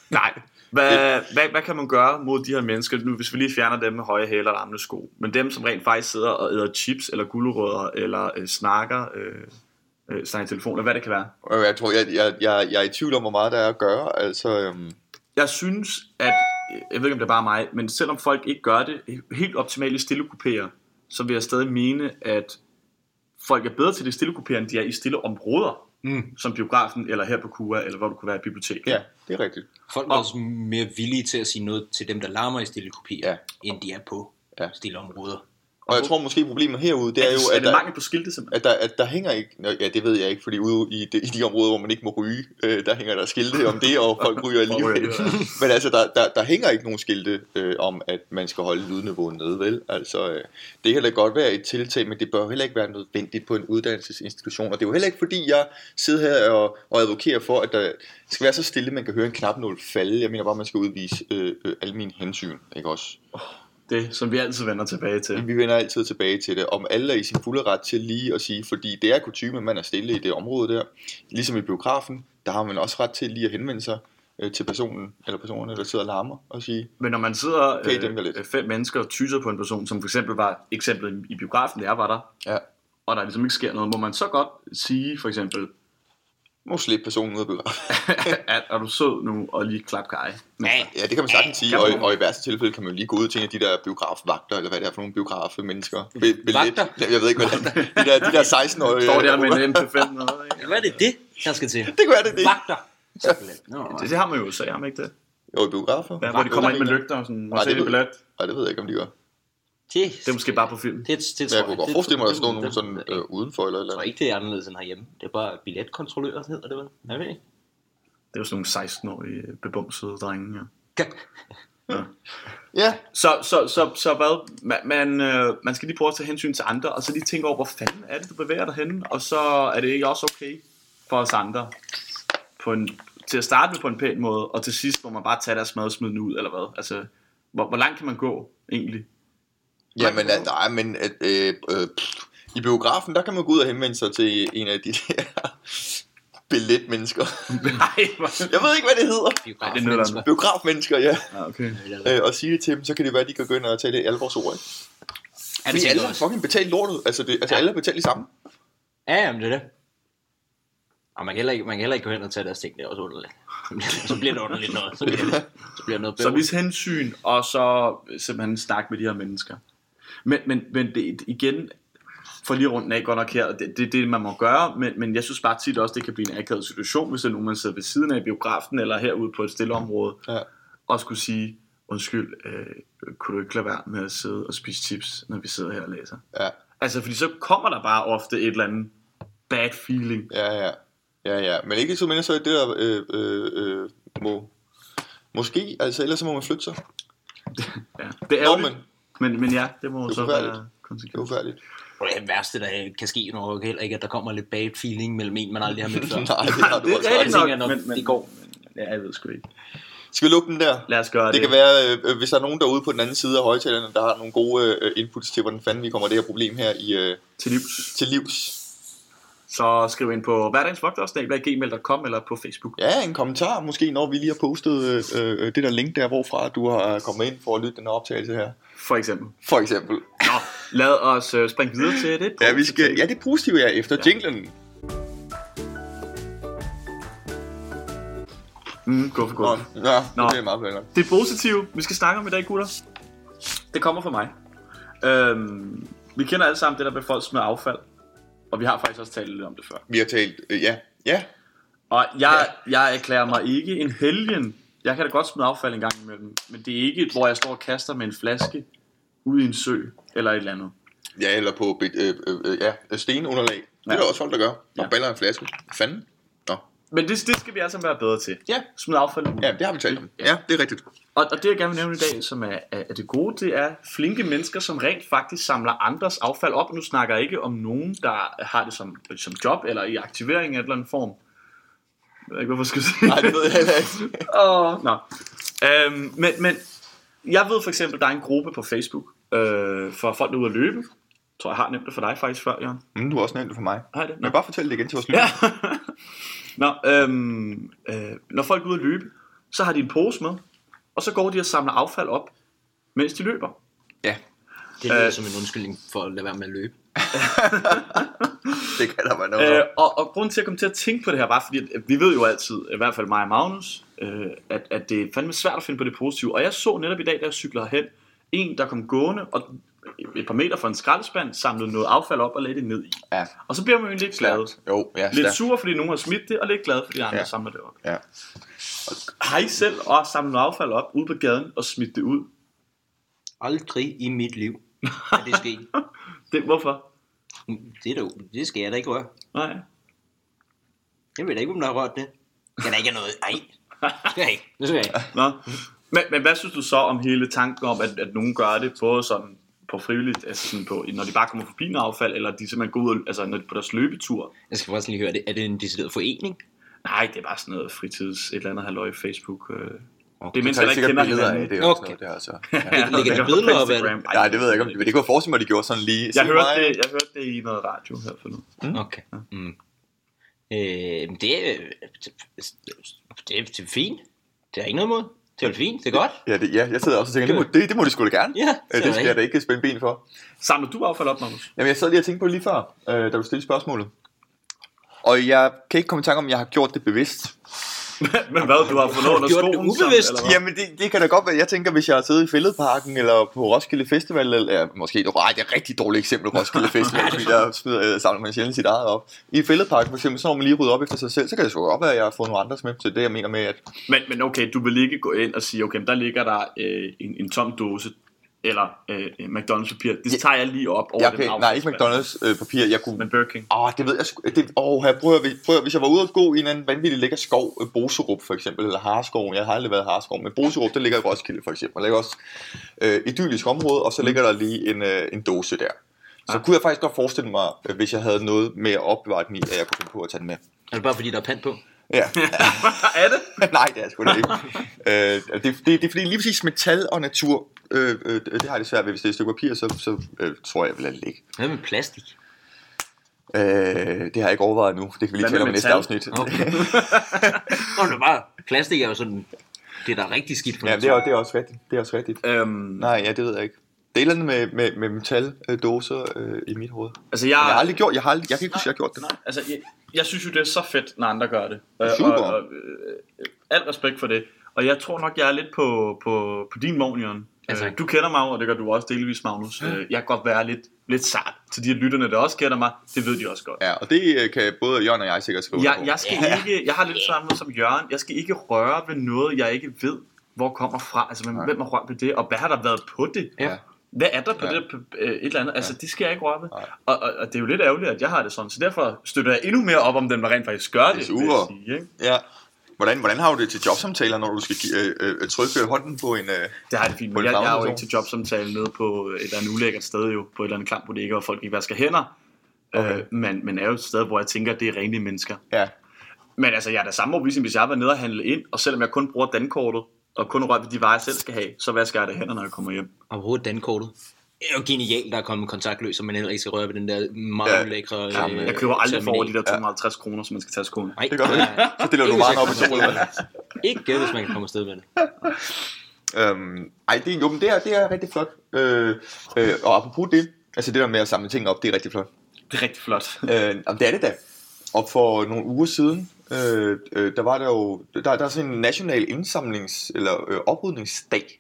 Speaker 1: Nej. Hvad, hvad, hvad kan man gøre mod de her mennesker, nu, hvis vi lige fjerner dem med høje hæle og larmende sko? Men dem, som rent faktisk sidder og æder chips, eller gulerødder, eller øh, snakker, øh, øh, snakker i telefon, eller hvad det kan være.
Speaker 2: Øh, Jeg tror, jeg, jeg, jeg, jeg er i tvivl om, hvor meget der er at gøre. Altså, øhm,
Speaker 1: Jeg synes, at, øh, jeg ved ikke om det er bare mig, men selvom folk ikke gør det helt optimalt i stille kupéer, så vil jeg stadig mene, at folk er bedre til det stille kupéer, end de er i stille områder,
Speaker 3: Mm.
Speaker 1: som biografen, eller her på KUA, eller hvor du kunne være i biblioteket.
Speaker 2: ja, det er rigtigt.
Speaker 3: Folk er også mere villige til at sige noget til dem, der larmer i stille kopier,
Speaker 2: Ja.
Speaker 3: ja. end de er på
Speaker 2: Ja.
Speaker 3: ja. stille områder.
Speaker 2: Og jeg tror måske, problemet herude, det
Speaker 1: Er
Speaker 2: er
Speaker 1: det,
Speaker 2: jo,
Speaker 1: er
Speaker 2: at
Speaker 1: det
Speaker 2: der,
Speaker 1: mangel på skilte, simpelthen?
Speaker 2: ligesom, at, der, at der hænger ikke... Nå, Ja, det ved jeg ikke, fordi ude i de, i de områder, hvor man ikke må ryge, øh, der hænger der skilte om det, og folk ryger
Speaker 1: Folk ryger
Speaker 2: alligevel.
Speaker 1: alligevel,
Speaker 2: (laughs) Men altså, der, der, der hænger ikke nogen skilte øh, om, at man skal holde lydniveauet nede, vel? Altså, øh, det kan da godt være et tiltag, men det bør jo heller ikke være nødvendigt på en uddannelsesinstitution. Og det er jo heller ikke, fordi jeg sidder her og, og advokerer for, at der skal være så stille, man kan høre en knapnål falde. Jeg mener bare, man skal udvise øh, øh, alle mine hensyn, ikke også?
Speaker 1: Det, som vi altid vender tilbage til.
Speaker 2: Vi vender altid tilbage til det, om alle er i sin fulde ret til lige at sige, fordi det er kutume, at man er stille i det område der. Ligesom i biografen, der har man også ret til lige at henvende sig øh, til personen, eller personerne, der sidder og larmer, og sige,
Speaker 1: Men når man sidder
Speaker 2: Okay, dem der lidt.
Speaker 1: øh, fem mennesker og tyser på en person, som for eksempel var eksemplet i biografen, der jeg var der,
Speaker 2: ja,
Speaker 1: og der ligesom ikke sker noget, må man så godt sige for
Speaker 2: (laughs)
Speaker 1: eksempel,
Speaker 2: nu slip personen ud af biografen.
Speaker 1: at er du sød nu og lige klap kaj. Men-
Speaker 3: Ja,
Speaker 2: Ja, det kan man sagtens sige,
Speaker 1: kan
Speaker 2: og,
Speaker 1: man.
Speaker 2: og i værste tilfælde kan man jo lige gå ud til en af de der biografvagter, eller hvad det er for nogle biografmennesker. Be, billet.
Speaker 3: Vagter?
Speaker 2: Jeg, jeg ved ikke, hvad det er. De der, de der 16-årige.
Speaker 1: Står der med en MP5 eller
Speaker 2: (laughs)
Speaker 1: noget, ikke?
Speaker 3: Hvad er det det, der skal til?
Speaker 2: Det kunne være det, det.
Speaker 3: Vagter! Simpelthen. Nå,
Speaker 1: Det, det har man jo så, har man ikke det?
Speaker 2: Jo, i biografer.
Speaker 1: Ja, hvor de kommer ind med
Speaker 2: mener jeg.
Speaker 1: lygter og sådan,
Speaker 2: Nej,
Speaker 1: og så er
Speaker 2: det
Speaker 1: det
Speaker 2: ved-
Speaker 1: billet.
Speaker 2: Nej, det ved jeg ikke, om de gør.
Speaker 3: det,
Speaker 1: Det er måske bare på film.
Speaker 3: det, det, det
Speaker 2: Men
Speaker 3: tror
Speaker 2: jeg kunne godt
Speaker 3: det-
Speaker 2: forestille mig, at der
Speaker 3: det-
Speaker 2: stod
Speaker 3: det-
Speaker 2: nogen
Speaker 3: det-
Speaker 2: sådan øh, udenfor eller et eller
Speaker 3: Jeg tror
Speaker 2: andet.
Speaker 3: ikke, det er anderledes end herhjemme. Det er bare billetkontrollører, hedder det vel? Jeg ved ikke.
Speaker 1: Det er jo sådan nogle 16-årige bebumsede drenge, ja.
Speaker 2: Ja,
Speaker 1: Så, så, så, så hvad, man, man, øh, man skal lige prøve at tage hensyn til andre, og så lige tænke over, hvor fanden er det, du bevæger dig henne, og så er det ikke også okay for os andre, på en, til at starte med på en pæn måde, og til sidst må man bare tage deres mad og smide den ud, eller hvad? Altså, hvor, hvor langt kan man gå, egentlig? (laughs)
Speaker 2: Jamen, at, nej, men at, øh, øh, pff, i biografen, der kan man gå ud og henvende sig til en af de (laughs) der billetmennesker.
Speaker 1: Nej, hvor-
Speaker 2: Jeg ved ikke, hvad det hedder.
Speaker 1: Ej, det er noget, der er
Speaker 3: Biografmennesker.
Speaker 2: Biografmennesker, ja.
Speaker 1: ja, okay.
Speaker 2: Øh, og sige det til dem, så kan det være, at de kan gå ind og tale et alvorsord, ikke?
Speaker 3: Ja, det
Speaker 2: Fordi
Speaker 3: tænker
Speaker 2: alle
Speaker 3: jeg
Speaker 2: har
Speaker 3: også.
Speaker 2: fucking betalt lortet. Altså, det, altså
Speaker 3: Ja.
Speaker 2: alle har betalt det samme.
Speaker 3: Ja, jamen, det er det. Og man kan, heller ikke, man kan heller ikke gå hen og tage deres ting, det er også underligt. så bliver det underligt noget. Så bliver det, så bliver det
Speaker 1: (laughs)
Speaker 3: noget
Speaker 1: Så
Speaker 3: bøvl.
Speaker 1: vis hensyn, og så øh, simpelthen snakke med de her mennesker. Men, men, men det, igen, for lige rundt af godt nok her, det er det, er det, man må gøre, men, men jeg synes bare tit også, det kan blive en akavet situation, hvis der er nogen, man sidder ved siden af i biografen, eller herude på et stille område,
Speaker 2: Ja.
Speaker 1: og skulle sige, undskyld, øh, kunne du ikke lade være med at sidde og spise chips, når vi sidder her og læser?
Speaker 2: Ja,
Speaker 1: Altså, fordi så kommer der bare ofte et eller andet bad feeling.
Speaker 2: ja, ja. Ja, ja. Men ikke så mindre så er det der, øh, øh, øh, må... Måske, altså ellers så må man flytte sig. Det
Speaker 1: Ja. Det er
Speaker 2: Nå,
Speaker 1: ærgerligt, men... Men, men ja, det må jo
Speaker 2: er
Speaker 1: så
Speaker 2: forfærdeligt.
Speaker 1: være
Speaker 2: er jo
Speaker 1: konsekvens.
Speaker 3: (laughs)
Speaker 2: færdigt.
Speaker 3: Og Det værste, der kan ske, når heller ikke, at der kommer lidt bad feeling mellem en, man aldrig har mødt før.
Speaker 2: Nej, det
Speaker 3: (laughs)
Speaker 2: har du
Speaker 1: Det er
Speaker 2: også
Speaker 3: rigtigt.
Speaker 2: ret. i.
Speaker 1: rigtigt nok,
Speaker 3: tænker jeg nok,
Speaker 1: men, men,
Speaker 3: det går.
Speaker 1: men- Ja, jeg ved sgu ikke.
Speaker 2: Skal vi lukke den der?
Speaker 1: Lad os gøre det.
Speaker 2: Det kan være, øh, hvis der er nogen derude på den anden side af højtalerne, der har nogle gode øh, inputs til, hvordan fanden vi kommer det her problem her i, øh,
Speaker 1: til livs.
Speaker 2: til livs.
Speaker 1: Så skriv ind på hverdagsvogtersnabla.gmail.com eller på Facebook.
Speaker 2: Ja, en kommentar måske, når vi lige har postet øh, øh, det der link der, hvorfra du har kommet ind for at lytte den her optagelse her.
Speaker 1: For eksempel.
Speaker 2: For eksempel.
Speaker 1: Nå, lad os øh, springe videre til det.
Speaker 2: Ja, vi skal, ja det er positivt, ja, efter ja. jinglen.
Speaker 1: Mm, gå for
Speaker 2: Nå,
Speaker 1: god.
Speaker 2: ja,
Speaker 1: Nå.
Speaker 2: det er meget bedre.
Speaker 1: Det positive, vi skal snakke om i dag, gutter. Det kommer fra mig. Øhm, vi kender alle sammen det der med folk smider affald. Og vi har faktisk også talt lidt om det før.
Speaker 2: Vi har talt, øh, ja, ja,
Speaker 1: Og jeg, jeg erklærer mig ikke en helgen. Jeg kan da godt smide affald en gang imellem. Men det er ikke, hvor jeg står og kaster med en flaske ud i en sø eller et eller andet.
Speaker 2: ja, eller på bit- øh, øh, øh, ja, stenunderlag. Det er
Speaker 1: Ja.
Speaker 2: der også folk, der gør. Og
Speaker 1: Ja.
Speaker 2: baller en flaske. Fanden. Nå.
Speaker 1: Men det, det skal vi alle sammen være bedre til.
Speaker 2: Ja.
Speaker 1: Smid affald ud.
Speaker 2: ja, det har vi talt om. Ja, det er rigtigt.
Speaker 1: Og, og det jeg gerne vil nævne i dag, som er, er er det gode, det er flinke mennesker, som rent faktisk samler andres affald op. Nu snakker jeg ikke om nogen, der har det som, som job eller i aktivering af en eller anden form. Jeg ved ikke, hvorfor jeg skulle sige
Speaker 2: Nej, det ved jeg heller ikke.
Speaker 1: Åh, Nå. Øhm, men, men jeg ved for eksempel, der er en gruppe på Facebook øh, for folk, der er ude at løbe. Jeg tror, jeg har nævnt det for dig faktisk før, Jørgen.
Speaker 2: Mm, du har også nævnt det for mig.
Speaker 1: Har jeg det?
Speaker 2: Men bare fortæl det igen til vores lytter.
Speaker 1: Ja. Nå, øhm, øh, når folk er ude at løbe, så har de en pose med, og så går de og samler affald op, mens de løber.
Speaker 2: ja.
Speaker 3: Det lyder
Speaker 1: Øh.
Speaker 3: som en undskyldning for at lade være med at løbe.
Speaker 2: det kan der være noget
Speaker 1: Øh,
Speaker 2: øh,
Speaker 1: og, og grunden til, at jeg kom til at tænke på det her, var fordi, at vi ved jo altid, i hvert fald mig og Magnus, øh, at, at det er fandme svært at finde på det positive. Og jeg så netop i dag, da jeg cyklede hen, en, der kom gående, og et par meter fra en skraldespand, samlede noget affald op og lagde det ned i.
Speaker 2: Ja,
Speaker 1: Og så bliver man jo egentlig ikke glad.
Speaker 2: stærkt. Jo, ja,
Speaker 1: Lidt
Speaker 2: stærkt.
Speaker 1: sur, fordi nogen har smidt det, og lidt glad, fordi andre
Speaker 2: Ja.
Speaker 1: ja. samler det op.
Speaker 2: Ja.
Speaker 1: Har I selv også samlet noget affald op ude på gaden og smidt det ud?
Speaker 3: Aldrig i mit liv er det
Speaker 2: (laughs)
Speaker 3: sket.
Speaker 1: Det, hvorfor?
Speaker 3: Det, er da, det skal jeg da ikke røre.
Speaker 1: Nej.
Speaker 3: Jeg ved da ikke, om der har rørt det. Jeg da ikke er noget. Ej. Det skal jeg ikke. Det skal jeg ikke.
Speaker 1: Nå. Men, men hvad synes du så om hele tanken om, at, at nogen gør det både sådan på frivilligt, altså sådan på, når de bare kommer forbi en affald, eller de simpelthen går ud, og- altså når de på deres løbetur?
Speaker 3: Jeg skal faktisk lige høre det. Er det en decideret forening?
Speaker 1: Nej, det er bare sådan noget fritids, et eller andet halvøj Facebook. Øh.
Speaker 2: Okay,
Speaker 1: Det er mens,
Speaker 2: tager
Speaker 1: jeg ikke kender
Speaker 2: billeder af
Speaker 1: hinanden.
Speaker 2: det. og
Speaker 3: Okay.
Speaker 2: sådan noget Der,
Speaker 1: (laughs)
Speaker 2: altså. ja.
Speaker 3: ligger der
Speaker 1: på
Speaker 3: billeder op af
Speaker 1: Instagram. Ej,
Speaker 2: Nej, det ved jeg ikke, om de vil. Det kunne jeg forestille mig, at de gjorde sådan lige.
Speaker 1: Jeg
Speaker 2: Se
Speaker 1: hørte,
Speaker 2: mig.
Speaker 1: det, jeg hørte det i noget radio her for nu.
Speaker 3: Okay. Mm. Øh, men det, er, det, det, er- det er fint. Det er ikke noget mod. Det er vel fint. Det er godt.
Speaker 2: Ja, det, ja, jeg sidder også og tænker, det må, det, det må de sgu da gerne.
Speaker 3: Ja,
Speaker 2: Øh,
Speaker 3: det er
Speaker 2: det skal jeg da
Speaker 3: rigtigt.
Speaker 2: ikke spænde ben for.
Speaker 1: Samler du affald op, Magnus?
Speaker 2: Jamen, jeg sad lige og tænkte på det lige før, øh, da du stillede spørgsmålet. Og jeg kan ikke komme i tanke om, at jeg har gjort det bevidst.
Speaker 1: men hvad, du har fået noget under
Speaker 3: Gjort
Speaker 1: skoen?
Speaker 3: det
Speaker 1: sådan,
Speaker 3: ubevidst.
Speaker 1: eller hvad?
Speaker 2: Jamen, det, det kan da godt være. Jeg tænker, hvis jeg har siddet i Fælledparken eller på Roskilde Festival, eller ja, måske, nej, det er et rigtig dårligt eksempel, Roskilde Festival, fordi der smider, øh, samler man sjældent sit eget op. I Fælledparken for eksempel, så når man lige rydder op efter sig selv, så kan det sgu godt være, at jeg har fået nogle andres med. Så det er det, jeg mener med, at
Speaker 1: Men, men okay, du vil ikke gå ind og sige, okay, men der ligger der øh, en, en tom dåse, eller øh, en McDonald's-papir. Det tager jeg lige op over
Speaker 2: jeg kan,
Speaker 1: den
Speaker 2: nej, ikke
Speaker 1: affaldsspand.
Speaker 2: McDonald's øh, papir, jeg kunne
Speaker 1: Men Burger King.
Speaker 2: Åh, det ved jeg sgu. Det, åh, her, prøv, at, høre, prøv at, hvis jeg var ude at gå i en eller anden vanvittig lækker skov, øh, Boserup for eksempel, eller Harskov, jeg har aldrig været i Harskov, men Boserup, der ligger i Roskilde for eksempel, der ligger også øh, idyllisk område,
Speaker 1: Mm.
Speaker 2: og så ligger der lige en, øh, en dose der. Så kunne jeg faktisk godt forestille mig, øh, hvis jeg havde noget med at opbevare den i, at jeg kunne finde på at tage den med. (laughs)
Speaker 3: Er det bare fordi, der er pant på?
Speaker 2: Ja.
Speaker 1: er det?
Speaker 2: Nej, det er
Speaker 1: (laughs)
Speaker 2: sgu da ikke. øh, det, det, det er fordi lige præcis metal og natur, øh, øh, det har jeg det svært ved. Hvis det er et stykke papir, så, så øh, tror jeg, jeg vil lade det ligge.
Speaker 3: Hvad med plastik?
Speaker 2: Øh, det har jeg ikke overvejet nu. Det kan vi
Speaker 1: Hvad
Speaker 2: lige
Speaker 1: med
Speaker 2: tale om i næste
Speaker 1: metal?
Speaker 2: afsnit.
Speaker 3: Okay. Nå, det er bare... Plastik er jo sådan... Det er da rigtig skidt for
Speaker 2: Ja, det er, det er også rigtigt. Det er også rigtigt.
Speaker 1: Øhm,
Speaker 2: Nej, ja, det ved jeg ikke. Det er et eller andet med, med, med metaldåser øh, i mit hoved.
Speaker 1: altså,
Speaker 2: Men jeg har
Speaker 1: jeg,
Speaker 2: aldrig gjort, jeg, har aldrig, jeg kan ikke huske, jeg har gjort det.
Speaker 1: nej, altså, jeg, jeg synes jo, det er så fedt, når andre gør det.
Speaker 2: er
Speaker 1: Øh,
Speaker 2: super.
Speaker 1: Og, og, øh, alt respekt for det. Og jeg tror nok, jeg er lidt på, på, på din morgen, Jørgen.
Speaker 3: Altså,
Speaker 1: Øh, du kender mig, jo, og det gør du også delvis, Magnus. Øh, Jeg kan godt være lidt, lidt sart til de her lytterne, der også kender mig. Det ved de også godt.
Speaker 2: Ja, og det øh, kan både Jørgen og jeg sikkert skrive under
Speaker 1: Jeg,
Speaker 2: på.
Speaker 1: jeg, skal
Speaker 3: Ja.
Speaker 1: ikke, jeg har lidt samme måde som Jørgen. Jeg skal ikke røre ved noget, jeg ikke ved, hvor kommer fra. Altså, hvem,
Speaker 2: Nej.
Speaker 1: hvem har rørt ved det, og hvad har der været på det?
Speaker 3: Ja.
Speaker 1: Hvad er der på
Speaker 2: Ja.
Speaker 1: ja. det p- øh, et eller andet? Altså, det skal jeg ikke røre ved.
Speaker 2: Nej.
Speaker 1: Og, og, og det er jo lidt ærgerligt, at jeg har det sådan. Så derfor støtter jeg endnu mere op om dem, der rent faktisk gør det.
Speaker 2: super.
Speaker 1: vil jeg sige, ikke?
Speaker 2: Ja. Hvordan, hvordan har du det til jobsamtaler, når du skal give, øh, øh, trykke hånden på en... Øh...
Speaker 1: Det har jeg det fint
Speaker 2: På
Speaker 1: med.
Speaker 2: en
Speaker 1: Jeg, jeg er jo
Speaker 2: daginstitution.
Speaker 1: ikke til jobsamtale nede på et eller andet ulækkert sted, jo, på et eller andet klamt bodega, og folk ikke vasker hænder.
Speaker 2: Okay.
Speaker 1: Okay. Øh, men, men er jo et sted, hvor jeg tænker, at det er rene mennesker.
Speaker 2: Ja.
Speaker 1: Men altså, jeg er da samme overbevisning, hvis jeg var nede og handle ind, og selvom jeg kun bruger dankortet, og kun rører ved de varer, jeg selv skal have, så vasker jeg det hænder, når jeg kommer hjem.
Speaker 3: Overhovedet dankortet. Det er jo genialt, der er kommet kontaktløs, og man heller ikke skal røre ved den der
Speaker 2: Ja.
Speaker 3: meget lækre...
Speaker 2: Jamen,
Speaker 3: øh,
Speaker 1: Jeg køber aldrig for over de
Speaker 3: terminal.
Speaker 1: der 250 kroner, som man skal tage af skoene.
Speaker 3: Nej,
Speaker 2: Det gør du (laughs) ikke. Så stiller du
Speaker 3: Ikke,
Speaker 2: meget
Speaker 3: hvis
Speaker 2: op i
Speaker 3: jeg kommer
Speaker 2: solen.
Speaker 3: afsted. Ikke hvis man kan komme afsted med det.
Speaker 2: Øhm, ej, det, jo, men det er, det er rigtig flot. Øh, øh, og apropos det, altså det der med at samle ting op, det er rigtig flot.
Speaker 1: Det er rigtig flot.
Speaker 2: Øh, jamen, det er det da. Og for nogle uger siden, øh, øh, der var der jo, der, der er sådan en national indsamlings- eller øh, oprydningsdag.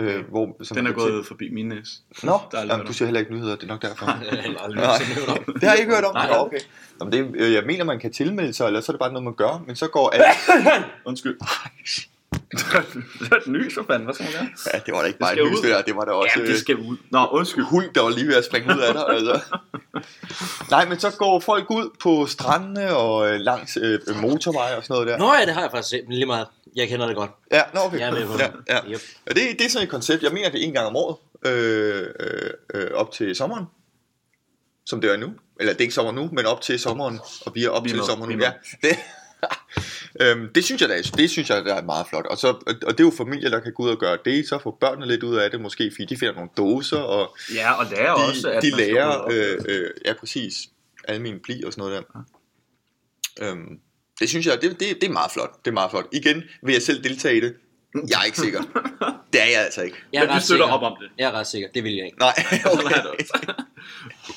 Speaker 2: Øh, hvor, som
Speaker 1: (laughs) Den er
Speaker 2: man kan
Speaker 1: gået forbi min næse.
Speaker 2: til- Nå,
Speaker 1: der er aldrig
Speaker 2: jamen,
Speaker 1: hørt
Speaker 2: du
Speaker 1: om.
Speaker 2: ser heller ikke nyheder, det er
Speaker 1: (laughs)
Speaker 2: nok derfor.
Speaker 3: Jeg har heller aldrig
Speaker 2: Nej,
Speaker 3: nogensinde hørt om.
Speaker 2: det har jeg ikke hørt om.
Speaker 3: Nej.
Speaker 2: Nå, okay. Jamen, det, øh, jeg mener, man kan tilmelde sig, eller så er det bare noget, man gør. Men så
Speaker 1: (laughs)
Speaker 2: går alle...
Speaker 1: Undskyld. (laughs) det er et nys, for fanden. Hvad skal man gøre?
Speaker 2: Ja, det var da ikke bare
Speaker 1: skal
Speaker 2: en lys,
Speaker 1: ud.
Speaker 2: det der. Det var da også... øh,
Speaker 1: Jamen, det skal ud. Nå, undskyld.
Speaker 2: hund, der var lige ved at springe ud af dig. Altså. Nej, men så går folk ud på strandene og øh, langs øh, motorveje og sådan noget der.
Speaker 3: Nå ja, det har jeg faktisk set, men lige meget. Jeg kender det godt.
Speaker 2: Ja, nå, okay.
Speaker 3: Jeg er med på
Speaker 2: ja,
Speaker 3: den.
Speaker 2: ja.
Speaker 3: Yep.
Speaker 2: Og det, det er sådan et koncept. Jeg mener, det er en gang om året. Øh, øh, øh, op til sommeren. Som det er nu. Eller det er ikke sommer nu, men op til sommeren. Og vi er op
Speaker 1: Vi er
Speaker 2: til
Speaker 1: med,
Speaker 2: sommeren
Speaker 1: vi er
Speaker 2: nu. Ja,
Speaker 1: med.
Speaker 2: det, øhm, (laughs) det synes jeg da det synes jeg, der er meget flot. Og, så, og og det er jo familier, der kan gå ud og gøre det, så får børnene lidt ud af det måske, fordi de finder nogle doser, og
Speaker 1: Ja, og lærer
Speaker 2: de,
Speaker 1: også, at
Speaker 2: de
Speaker 1: man skal rydde
Speaker 2: lærer,
Speaker 1: op.
Speaker 2: øh, øh, ja præcis, almen pli og sådan noget der. Øhm, det synes jeg, det, det, det er meget flot. Det er meget flot. Igen, vil jeg selv deltage i det? Jeg er ikke
Speaker 1: (laughs)
Speaker 2: sikker. det er jeg altså ikke.
Speaker 3: Jeg er
Speaker 1: Men vi
Speaker 3: ret
Speaker 1: støtter
Speaker 3: sikker.
Speaker 1: op om det.
Speaker 3: Jeg er ret sikker, det vil jeg ikke.
Speaker 1: (laughs)
Speaker 2: Nej,
Speaker 1: Sådan er altså det
Speaker 2: okay.
Speaker 1: også.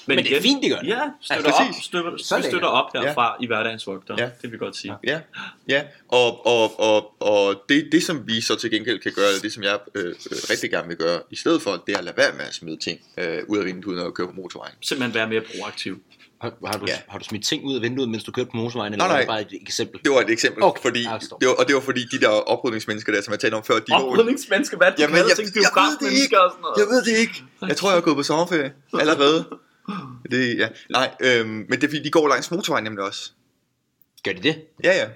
Speaker 3: Men, det er
Speaker 1: igen-
Speaker 3: fint, de gør det.
Speaker 1: Ja, støtter
Speaker 3: Altså,
Speaker 1: op,
Speaker 2: præcis.
Speaker 1: støtter,
Speaker 3: Så
Speaker 1: vi
Speaker 3: lækkert.
Speaker 1: støtter op herfra i hverdagens vogter.
Speaker 2: Ja.
Speaker 1: Det vil vi godt sige.
Speaker 2: Ja, ja. Og, og, og, og det, det, som vi så til gengæld kan gøre, eller det, som jeg øh, øh, rigtig gerne vil gøre, i stedet for, det er at lade være med at smide ting øh, ud af vinduet, når jeg kører på motorvejen.
Speaker 1: Simpelthen være mere proaktiv.
Speaker 3: Har, har, du,
Speaker 2: Ja.
Speaker 3: har du smidt ting ud af vinduet, mens du kørte på motorvejen, eller
Speaker 2: Nej,
Speaker 3: var det
Speaker 2: nej.
Speaker 3: bare et eksempel?
Speaker 2: Det var et eksempel,
Speaker 3: Okay,
Speaker 2: fordi,
Speaker 3: jeg forstår.
Speaker 2: det var, og det var fordi de der oprydningsmennesker der, som jeg talte om før, de var...
Speaker 1: Oprydningsmenneske, hvad er det, du
Speaker 2: Jamen,
Speaker 1: kalder
Speaker 2: jeg,
Speaker 1: ting?
Speaker 2: jeg, ved det ikke.
Speaker 1: Biografmennesker og sådan noget.
Speaker 2: jeg ved det ikke. Jeg tror, jeg er gået på sommerferie allerede. Det, ja. Nej, øhm, men det er fordi, de går langs motorvejen nemlig også.
Speaker 3: Gør de det?
Speaker 2: Ja, ja.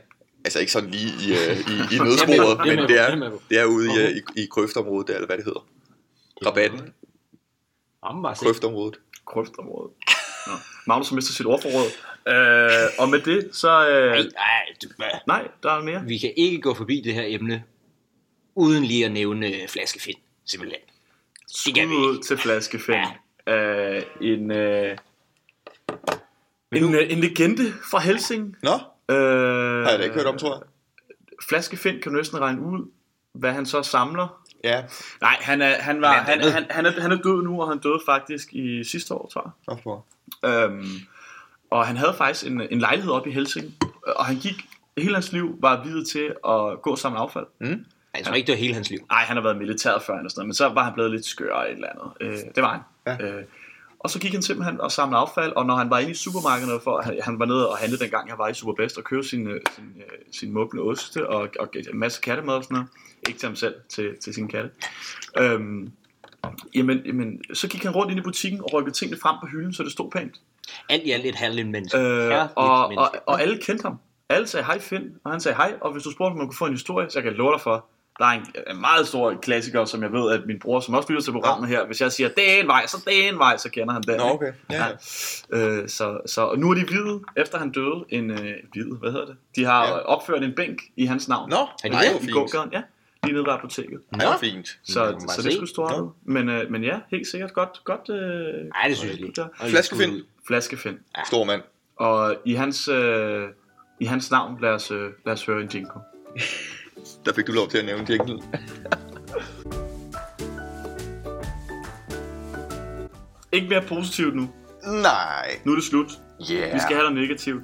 Speaker 2: Altså ikke sådan lige i, øh, i, i
Speaker 3: Det er med
Speaker 2: nødsporet,
Speaker 3: på, det er
Speaker 2: men
Speaker 3: med
Speaker 2: det
Speaker 3: på, det er
Speaker 2: er,
Speaker 3: med på.
Speaker 2: det er ude i, øh, i, i krøftområdet, der, eller hvad det hedder. Rabatten,
Speaker 3: Jamen, bare se.
Speaker 2: krøftområdet.
Speaker 1: Krøftområdet. Nå. Magnus har mistet sit ordforråd. Øh, og med det, så... Øh,
Speaker 3: Ej, ej, du, hvad?
Speaker 1: nej, der er mere.
Speaker 3: vi kan ikke gå forbi det her emne, uden lige at nævne øh, flaskefind, simpelthen. Det kan
Speaker 1: Skud
Speaker 3: vi
Speaker 1: ud til flaskefind. Øh, en, øh, en, øh, en legende fra Helsing.
Speaker 2: Nå,
Speaker 1: Øh,
Speaker 2: har jeg da ikke hørt om, tror jeg.
Speaker 1: Flaskefind kan du næsten regne ud, hvad han så samler.
Speaker 2: Ja,
Speaker 1: Nej, han er, han, var, han,
Speaker 3: andet.
Speaker 1: han, han, er, han er død nu, og han døde faktisk i sidste år, tror jeg.
Speaker 2: nå for.
Speaker 1: Øhm, og han havde faktisk en, en lejlighed oppe i Helsing, og han gik, hele hans liv var videt til at gå sammen med affald.
Speaker 3: Jeg tror Altså, ikke, det var hele hans liv.
Speaker 1: Nej, han har været i militæret før, eller sådan noget, men så var han blevet lidt skør eller et eller andet. Øh, det var han. Ja. Øh, og så gik han simpelthen og samlede affald, og når han var inde i supermarkedet, for han, han var nede og handlede dengang, han var i Superbest, og købte sin, øh, sin, øh, sin mugne oste og, og en masse kattemad og sådan noget. Ikke til ham selv, til, til sine katte. Øhm, jamen, jamen, så gik han rundt ind i butikken og rykkede tingene frem på hylden, så det stod pænt.
Speaker 3: Alt i alt et halvt menneske.
Speaker 1: Øh,
Speaker 3: Herligt
Speaker 1: og, og,
Speaker 3: menneske.
Speaker 1: og alle kendte ham. Alle sagde hej Finn, og han sagde hej. Og hvis du spurgte, om man kunne få en historie, så jeg kan love dig for, der er en, en meget stor klassiker, som jeg ved, at min bror, som også lytter til programmet her, hvis jeg siger, det er en vej, så det er en vej, så kender han den.
Speaker 2: Nå,
Speaker 1: ikke?
Speaker 2: okay. Ja, ja.
Speaker 1: Øh, så, så og nu er de videt, efter han døde, en øh, videt, hvad hedder det? De har
Speaker 2: Ja.
Speaker 1: ja. opført en bænk i hans navn.
Speaker 2: Nå,
Speaker 3: Er det
Speaker 2: nej,
Speaker 3: det?
Speaker 2: hvor
Speaker 1: I
Speaker 2: fint.
Speaker 1: gågaden, ja. Lige nede ved apoteket.
Speaker 2: Ej, hvor fint.
Speaker 1: Så,
Speaker 3: Nå,
Speaker 1: så,
Speaker 3: bare
Speaker 1: det
Speaker 3: Mm, se.
Speaker 1: skulle stå
Speaker 2: Nå.
Speaker 1: no. men, øh, men ja, helt sikkert godt. godt øh,
Speaker 3: Nej, det synes jeg ikke. Og
Speaker 2: Flaskefind.
Speaker 3: lidt
Speaker 1: Flaskefind.
Speaker 2: Stor mand.
Speaker 1: Og i hans, øh, i hans navn, lad os, øh, lad os høre en jingle.
Speaker 2: Der fik du lov til at nævne jinglen.
Speaker 1: Ikke mere positivt nu.
Speaker 2: Nej.
Speaker 1: Nu er det slut.
Speaker 2: Yeah.
Speaker 1: Vi skal have noget negativt.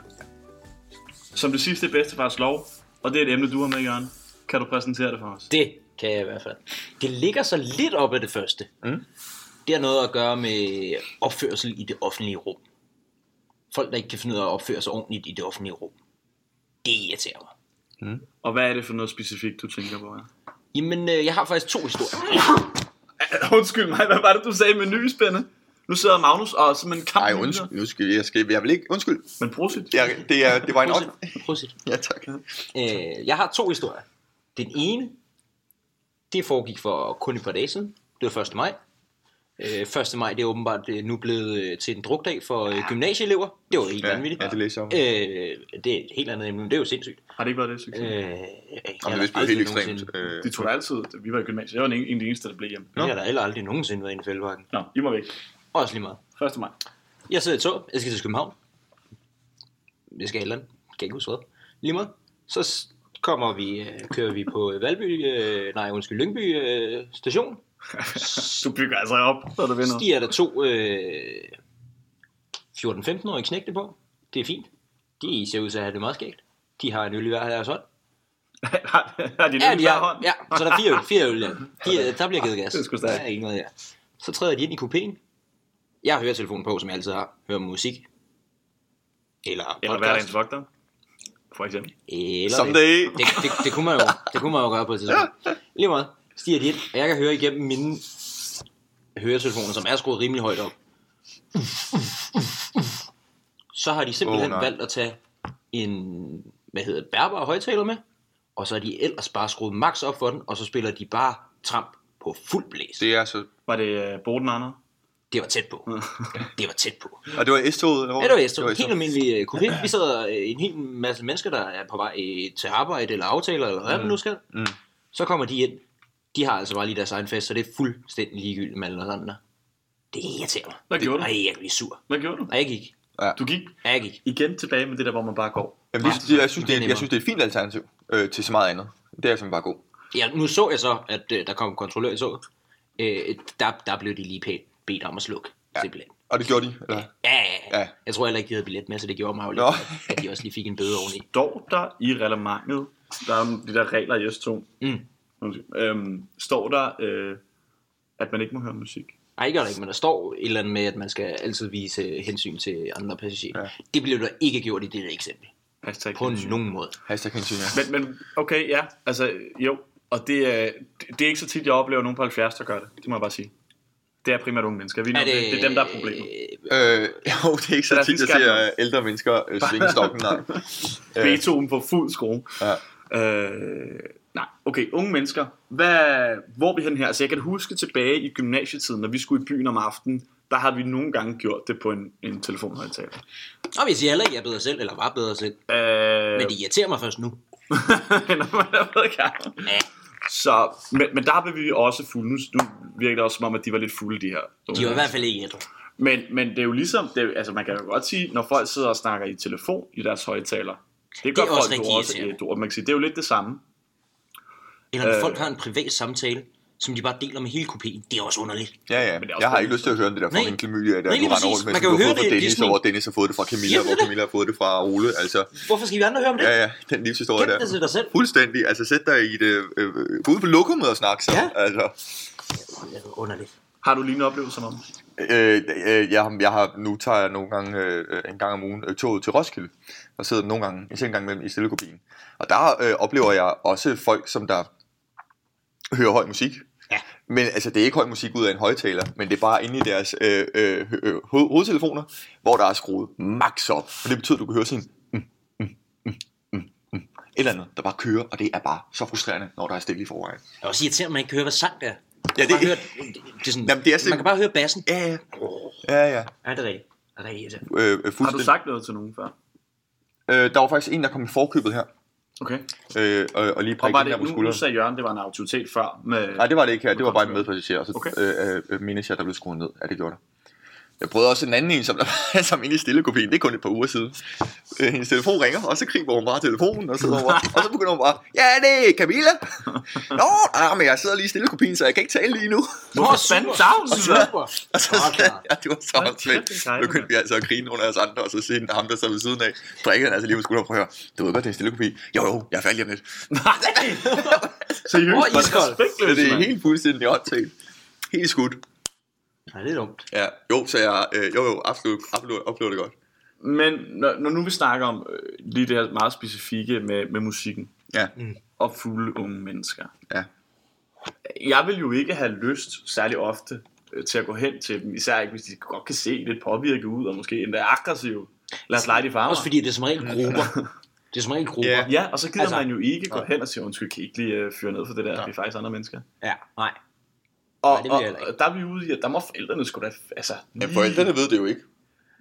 Speaker 1: Som det sidste bedste fars lov, og det er et emne, du har med, Jørgen. Kan du præsentere det for os?
Speaker 3: Det kan jeg i hvert fald. Det ligger så lidt op af det første.
Speaker 2: Mm.
Speaker 3: Det har noget at gøre med opførsel i det offentlige rum. Folk, der ikke kan finde ud af at opføre sig ordentligt i det offentlige rum. Det irriterer mig.
Speaker 1: Og hvad er det for noget specifikt, du tænker på? Her?
Speaker 3: Jamen, øh, jeg har faktisk to historier.
Speaker 1: Undskyld mig, hvad var det, du sagde med nyspænde? Nu sidder Magnus og som en kamp.
Speaker 2: Ej, undskyld, undskyld, jeg, skal, jeg vil ikke, undskyld,
Speaker 1: Men prosit.
Speaker 2: jeg, det, er, det var en ånd.
Speaker 3: Prosit. Prosit.
Speaker 2: Ja, tak.
Speaker 3: Øh, jeg har to historier. Den ene, det foregik for kun et par dage siden. Det var 1. maj. Øh, 1. maj, det er åbenbart øh, nu blevet øh, til en drukdag for øh, gymnasieelever. Det var helt
Speaker 2: Ja,
Speaker 3: vanvittigt.
Speaker 2: ja, det læser jeg om.
Speaker 3: Øh, det er et helt andet emne, men det er jo sindssygt.
Speaker 1: Har det ikke været det, succes?
Speaker 3: Øh,
Speaker 1: Øh,
Speaker 3: jeg har
Speaker 2: Jamen, det er vist
Speaker 3: aldrig
Speaker 2: blevet helt ekstremt.
Speaker 3: nogensinde-
Speaker 2: Øh,
Speaker 1: de tog det altid, da vi var i gymnasiet. Jeg var den ene, en af de eneste, der blev hjemme.
Speaker 3: Jeg har da heller aldrig nogensinde været inde i fældeparken.
Speaker 1: Nå, I må væk.
Speaker 3: Også lige meget.
Speaker 1: 1. maj.
Speaker 3: Jeg sidder i et tog, jeg skal til København. Jeg skal et eller andet. Kan ikke huske hvad. Lige meget. Så s- kommer vi, øh, kører vi på øh, Valby, øh, nej undskyld, Lyngby øh, station.
Speaker 1: Du bygger altså op, når du vinder.
Speaker 3: Stiger der to øh, 14-15-årige knægte på. Det er fint. De ser ud til at have det meget skægt. De har en øl i hver deres hånd.
Speaker 1: (laughs) Har de
Speaker 3: Ja,
Speaker 1: løbet
Speaker 3: de
Speaker 1: hver
Speaker 3: er,
Speaker 1: hånd?
Speaker 3: ja, så der er fire øl, fire
Speaker 1: (laughs)
Speaker 3: øl ja. de, øh, der bliver givet gas.
Speaker 1: Det er sgu stærkt.
Speaker 3: Der er ikke noget, ja. Så træder de ind i kupéen. Jeg har høretelefonen på, som jeg altid har. Hører musik. Eller podcast.
Speaker 1: Eller hverdagens vogter. For eksempel.
Speaker 3: Eller
Speaker 2: Someday.
Speaker 3: Det, det, det, det, kunne man jo, det kunne man jo gøre på et tidspunkt. Lige meget. Stiger de ind, og jeg kan høre igennem mine høretelefoner, som er skruet rimelig højt op. Så har de
Speaker 2: Åh,
Speaker 3: simpelthen
Speaker 2: nej.
Speaker 3: oh, valgt at tage en, hvad hedder det, bærbar højtaler med, og så har de ellers bare skruet max op for den, og så spiller de bare tramp på fuld blæs.
Speaker 2: Det er så,
Speaker 1: Var det øh, Boden Anna?
Speaker 3: Det var tæt på. det var tæt på.
Speaker 2: Og det var S-toget? eller hvor?
Speaker 3: Ja, det var Esto.
Speaker 2: S-toget.
Speaker 3: Helt almindelig øh, covid. Vi sidder øh, en hel masse mennesker, der er på vej øh, til arbejde eller aftaler, eller hvad man nu skal.
Speaker 2: Mm.
Speaker 3: Så kommer de ind. De har altså bare lige deres egen fest, så det er fuldstændig ligegyldigt med alle os andre. Det irriterer mig.
Speaker 1: Hvad gjorde du?
Speaker 3: Ej, jeg blev sur.
Speaker 1: Hvad gjorde du?
Speaker 3: Og jeg gik.
Speaker 1: Du gik
Speaker 3: Ja, jeg gik.
Speaker 1: igen tilbage med det der, hvor man bare går.
Speaker 2: Jamen, det, det, jeg, synes, det,
Speaker 3: Det
Speaker 2: er,
Speaker 3: er
Speaker 2: jeg synes, det er et fint alternativ øh, til så meget andet. Det er simpelthen bare god.
Speaker 3: Ja, nu så jeg så, at øh, der kom en kontrollør i toget. Øh, der, der blev de lige pænt bedt om at slukke. Ja. Simpelthen.
Speaker 2: Og det gjorde de? Eller?
Speaker 3: Ja, ja,
Speaker 2: Ja.
Speaker 3: ja. Jeg tror heller ikke, de havde billet med, så det gjorde mig jo lidt,
Speaker 2: Nå.
Speaker 3: at- at de også lige fik en bøde oveni.
Speaker 1: Står der i reglementet, der er de der regler i S2,
Speaker 3: Mm.
Speaker 1: undskyld, øhm, står der, øh, at man ikke må høre musik.
Speaker 3: Nej, det gør der ikke, men der står et eller andet med, at man skal altid vise hensyn til andre passagerer.
Speaker 2: Ja.
Speaker 3: Ja. Det blev der ikke gjort i det der eksempel.
Speaker 1: Hashtag
Speaker 3: På
Speaker 1: hensyn.
Speaker 3: nogen måde.
Speaker 2: Hashtag hensyn, ja.
Speaker 1: Men, men okay, ja, altså jo, og det er, det er ikke så tit, jeg oplever nogen på 70, der gør det, det må jeg bare sige. Det er primært unge mennesker, vi er, er det, det, er dem, der er problemet.
Speaker 2: Øh, (laughs)
Speaker 3: Øh,
Speaker 2: jo, det er ikke
Speaker 1: Så
Speaker 2: så
Speaker 1: der
Speaker 2: tit, jeg
Speaker 1: skal
Speaker 2: ser
Speaker 1: den.
Speaker 2: øh, ældre mennesker
Speaker 1: (laughs)
Speaker 2: øh, svinge stokken. Nej. Øh,
Speaker 1: Beethoven på fuld skrue.
Speaker 2: ja.
Speaker 1: Øh, nej, okay, unge mennesker. Hvad, hvor er vi hen her? Altså, jeg kan huske tilbage i gymnasietiden, når vi skulle i byen om aftenen, der har vi nogle gange gjort det på en, en telefonhøjtaler.
Speaker 3: og vi siger heller ikke, at jeg er bedre selv, eller var bedre selv.
Speaker 1: Øh, (laughs)
Speaker 3: Men det irriterer mig først nu.
Speaker 1: når man er blevet gammel.
Speaker 3: Ja,
Speaker 1: Så, men, men der blev vi også fulde. Nu, nu virker det også som om, at de var lidt fulde, de her. unge
Speaker 3: de var
Speaker 1: mennesker.
Speaker 3: i hvert fald ikke ædru.
Speaker 1: Men, men det er jo ligesom, det er, jo- altså man kan jo godt sige, når folk sidder og snakker i telefon i deres højtaler, det gør
Speaker 3: er
Speaker 1: det
Speaker 3: også
Speaker 1: folk jo
Speaker 3: rigtig
Speaker 1: også i
Speaker 3: irriterende.
Speaker 1: et ord. Man kan sige, det er jo lidt det samme.
Speaker 3: Eller når
Speaker 1: Øh.
Speaker 3: folk har en privat samtale, som de bare deler med hele kopien. Det er også underligt.
Speaker 2: Ja, ja.
Speaker 1: Men det er også
Speaker 2: Jeg har
Speaker 1: bare-
Speaker 2: ikke lyst til at høre om det der
Speaker 3: Nej.
Speaker 2: fucking klamydia, der
Speaker 3: Nej,
Speaker 2: du
Speaker 3: lige
Speaker 2: render
Speaker 3: præcis.
Speaker 2: rundt med, som
Speaker 3: Man kan
Speaker 2: du
Speaker 3: jo
Speaker 2: har
Speaker 3: høre
Speaker 2: fået fra
Speaker 3: det, ligesom- det er
Speaker 2: Dennis, og
Speaker 3: sådan-
Speaker 2: hvor Dennis har fået det fra Camilla,
Speaker 3: Jamen,
Speaker 2: hvor
Speaker 3: det er-
Speaker 2: Camilla har fået det fra Ole. Altså,
Speaker 3: Hvorfor skal vi andre høre om det?
Speaker 2: ja, ja, den livshistorie
Speaker 3: Gem
Speaker 2: der.
Speaker 3: det til dig selv.
Speaker 2: Fuldstændig. Altså, sæt dig i det, øh, øh, gå ud på lokummet og snak så.
Speaker 3: Ja.
Speaker 2: Altså,
Speaker 3: Det er underligt.
Speaker 1: Har du lignende oplevelser om?
Speaker 2: øh, øh, jeg, har- jeg har, nu tager jeg nogle gange, øh, øh, en gang om ugen, øh, toget til Roskilde, og sidder nogle gange, især en gang imellem i stillekopien. Og der øh, oplever jeg også folk, som der hører høj musik.
Speaker 3: Ja.
Speaker 2: Men altså, det er ikke høj musik ud af en højtaler, men det er bare inde i deres øh, øh, øh, ho- hovedtelefoner, hvor der er skruet max op. Og det betyder, at du kan høre sådan en mm, mm, mm, mm, mm. Et eller andet, der bare kører, og det er bare så frustrerende, når der er stille i forvejen.
Speaker 3: Jeg er også irriterende, at man ikke kan høre, hvad sang det er. Man,
Speaker 2: Ja,
Speaker 3: kan
Speaker 2: det-
Speaker 3: bare høre, det er sådan,
Speaker 2: Jamen, det er
Speaker 3: man
Speaker 2: simpelthen-
Speaker 3: kan bare høre bassen.
Speaker 2: Ja, ja. Ja, ja.
Speaker 3: Ja, det er rigtigt. Det er rigtigt. irriterende.
Speaker 2: Øh, øh,
Speaker 1: Har du
Speaker 2: fuldstændig.
Speaker 1: sagt noget til nogen før?
Speaker 2: Øh, der var faktisk en, der kom i forkøbet her,
Speaker 1: Okay.
Speaker 2: øh, og, og lige
Speaker 1: Og
Speaker 2: prikkede
Speaker 1: var
Speaker 2: den der
Speaker 1: det,
Speaker 2: på
Speaker 1: nu, nu
Speaker 2: skulderen.
Speaker 1: sagde Jørgen, det var en autoritet før. Med,
Speaker 2: Nej, det var det ikke her. Det var bare en medpassager, og så
Speaker 1: Okay.
Speaker 2: okay. øh, øh, mindes jeg, der blev skruet ned. Ja, det gjorde der. Jeg prøvede også en anden en, som, der, (laughs) som inde i stillekopien. Det er kun et par uger siden. Øh, hendes telefon ringer, og så griber hun bare telefonen, og, sidder over, og så begynder hun bare, ja, det er Camilla.
Speaker 1: (laughs)
Speaker 2: Nå, ah, men jeg sidder lige i stillekopien, så jeg kan ikke tale lige nu. (laughs)
Speaker 1: Hvorfor
Speaker 3: Nå,
Speaker 1: fanden
Speaker 3: super.
Speaker 1: tavsen, hva'?
Speaker 3: Super.
Speaker 2: Og så
Speaker 3: Nå,
Speaker 2: (laughs) sagde
Speaker 3: klar.
Speaker 2: jeg, det var så
Speaker 1: Hold
Speaker 2: åndssvagt.
Speaker 1: kæft, det er dejligt,
Speaker 2: Nu begyndte vi altså at grine under os andre, og så siden ham, der sad ved siden af, prikkede han altså lige på skulderen, prøv at høre, du ved godt, det er en stillekopi. Jo, jo, jeg er færdig om lidt.
Speaker 1: Seriøst,
Speaker 3: Hvor
Speaker 1: hvor
Speaker 3: iskold.
Speaker 2: Så
Speaker 1: respektløst,
Speaker 2: det er
Speaker 1: mand.
Speaker 2: helt fuldstændig åndssvagt. Helt skudt.
Speaker 3: Nej, det er dumt.
Speaker 2: Ja, jo, så jeg, øh, jo, jo, absolut, absolut oplever det godt.
Speaker 1: Men når, når nu vi snakker om øh, lige det her meget specifikke med, med musikken
Speaker 2: Ja,
Speaker 1: og fulde unge mennesker.
Speaker 2: ja.
Speaker 1: Jeg vil jo ikke have lyst særlig ofte øh, til at gå hen til dem, især ikke hvis de godt kan se lidt påvirket ud og måske endda aggressive. Lad os lege de farver.
Speaker 3: Også fordi det er som regel grupper. Det er som regel grupper.
Speaker 2: Ja.
Speaker 1: Ja, og så gider altså,
Speaker 3: Altså-
Speaker 1: man jo ikke gå hen og sige, undskyld, kan I ikke lige øh, fyre ned for det der, vi er faktisk andre mennesker.
Speaker 3: ja. Nej.
Speaker 1: Og,
Speaker 3: Nej, det vil jeg heller
Speaker 1: og, og der er vi ude i, at der må forældrene sgu da, altså...
Speaker 2: Ja,
Speaker 1: lige-
Speaker 2: forældrene ved det jo ikke.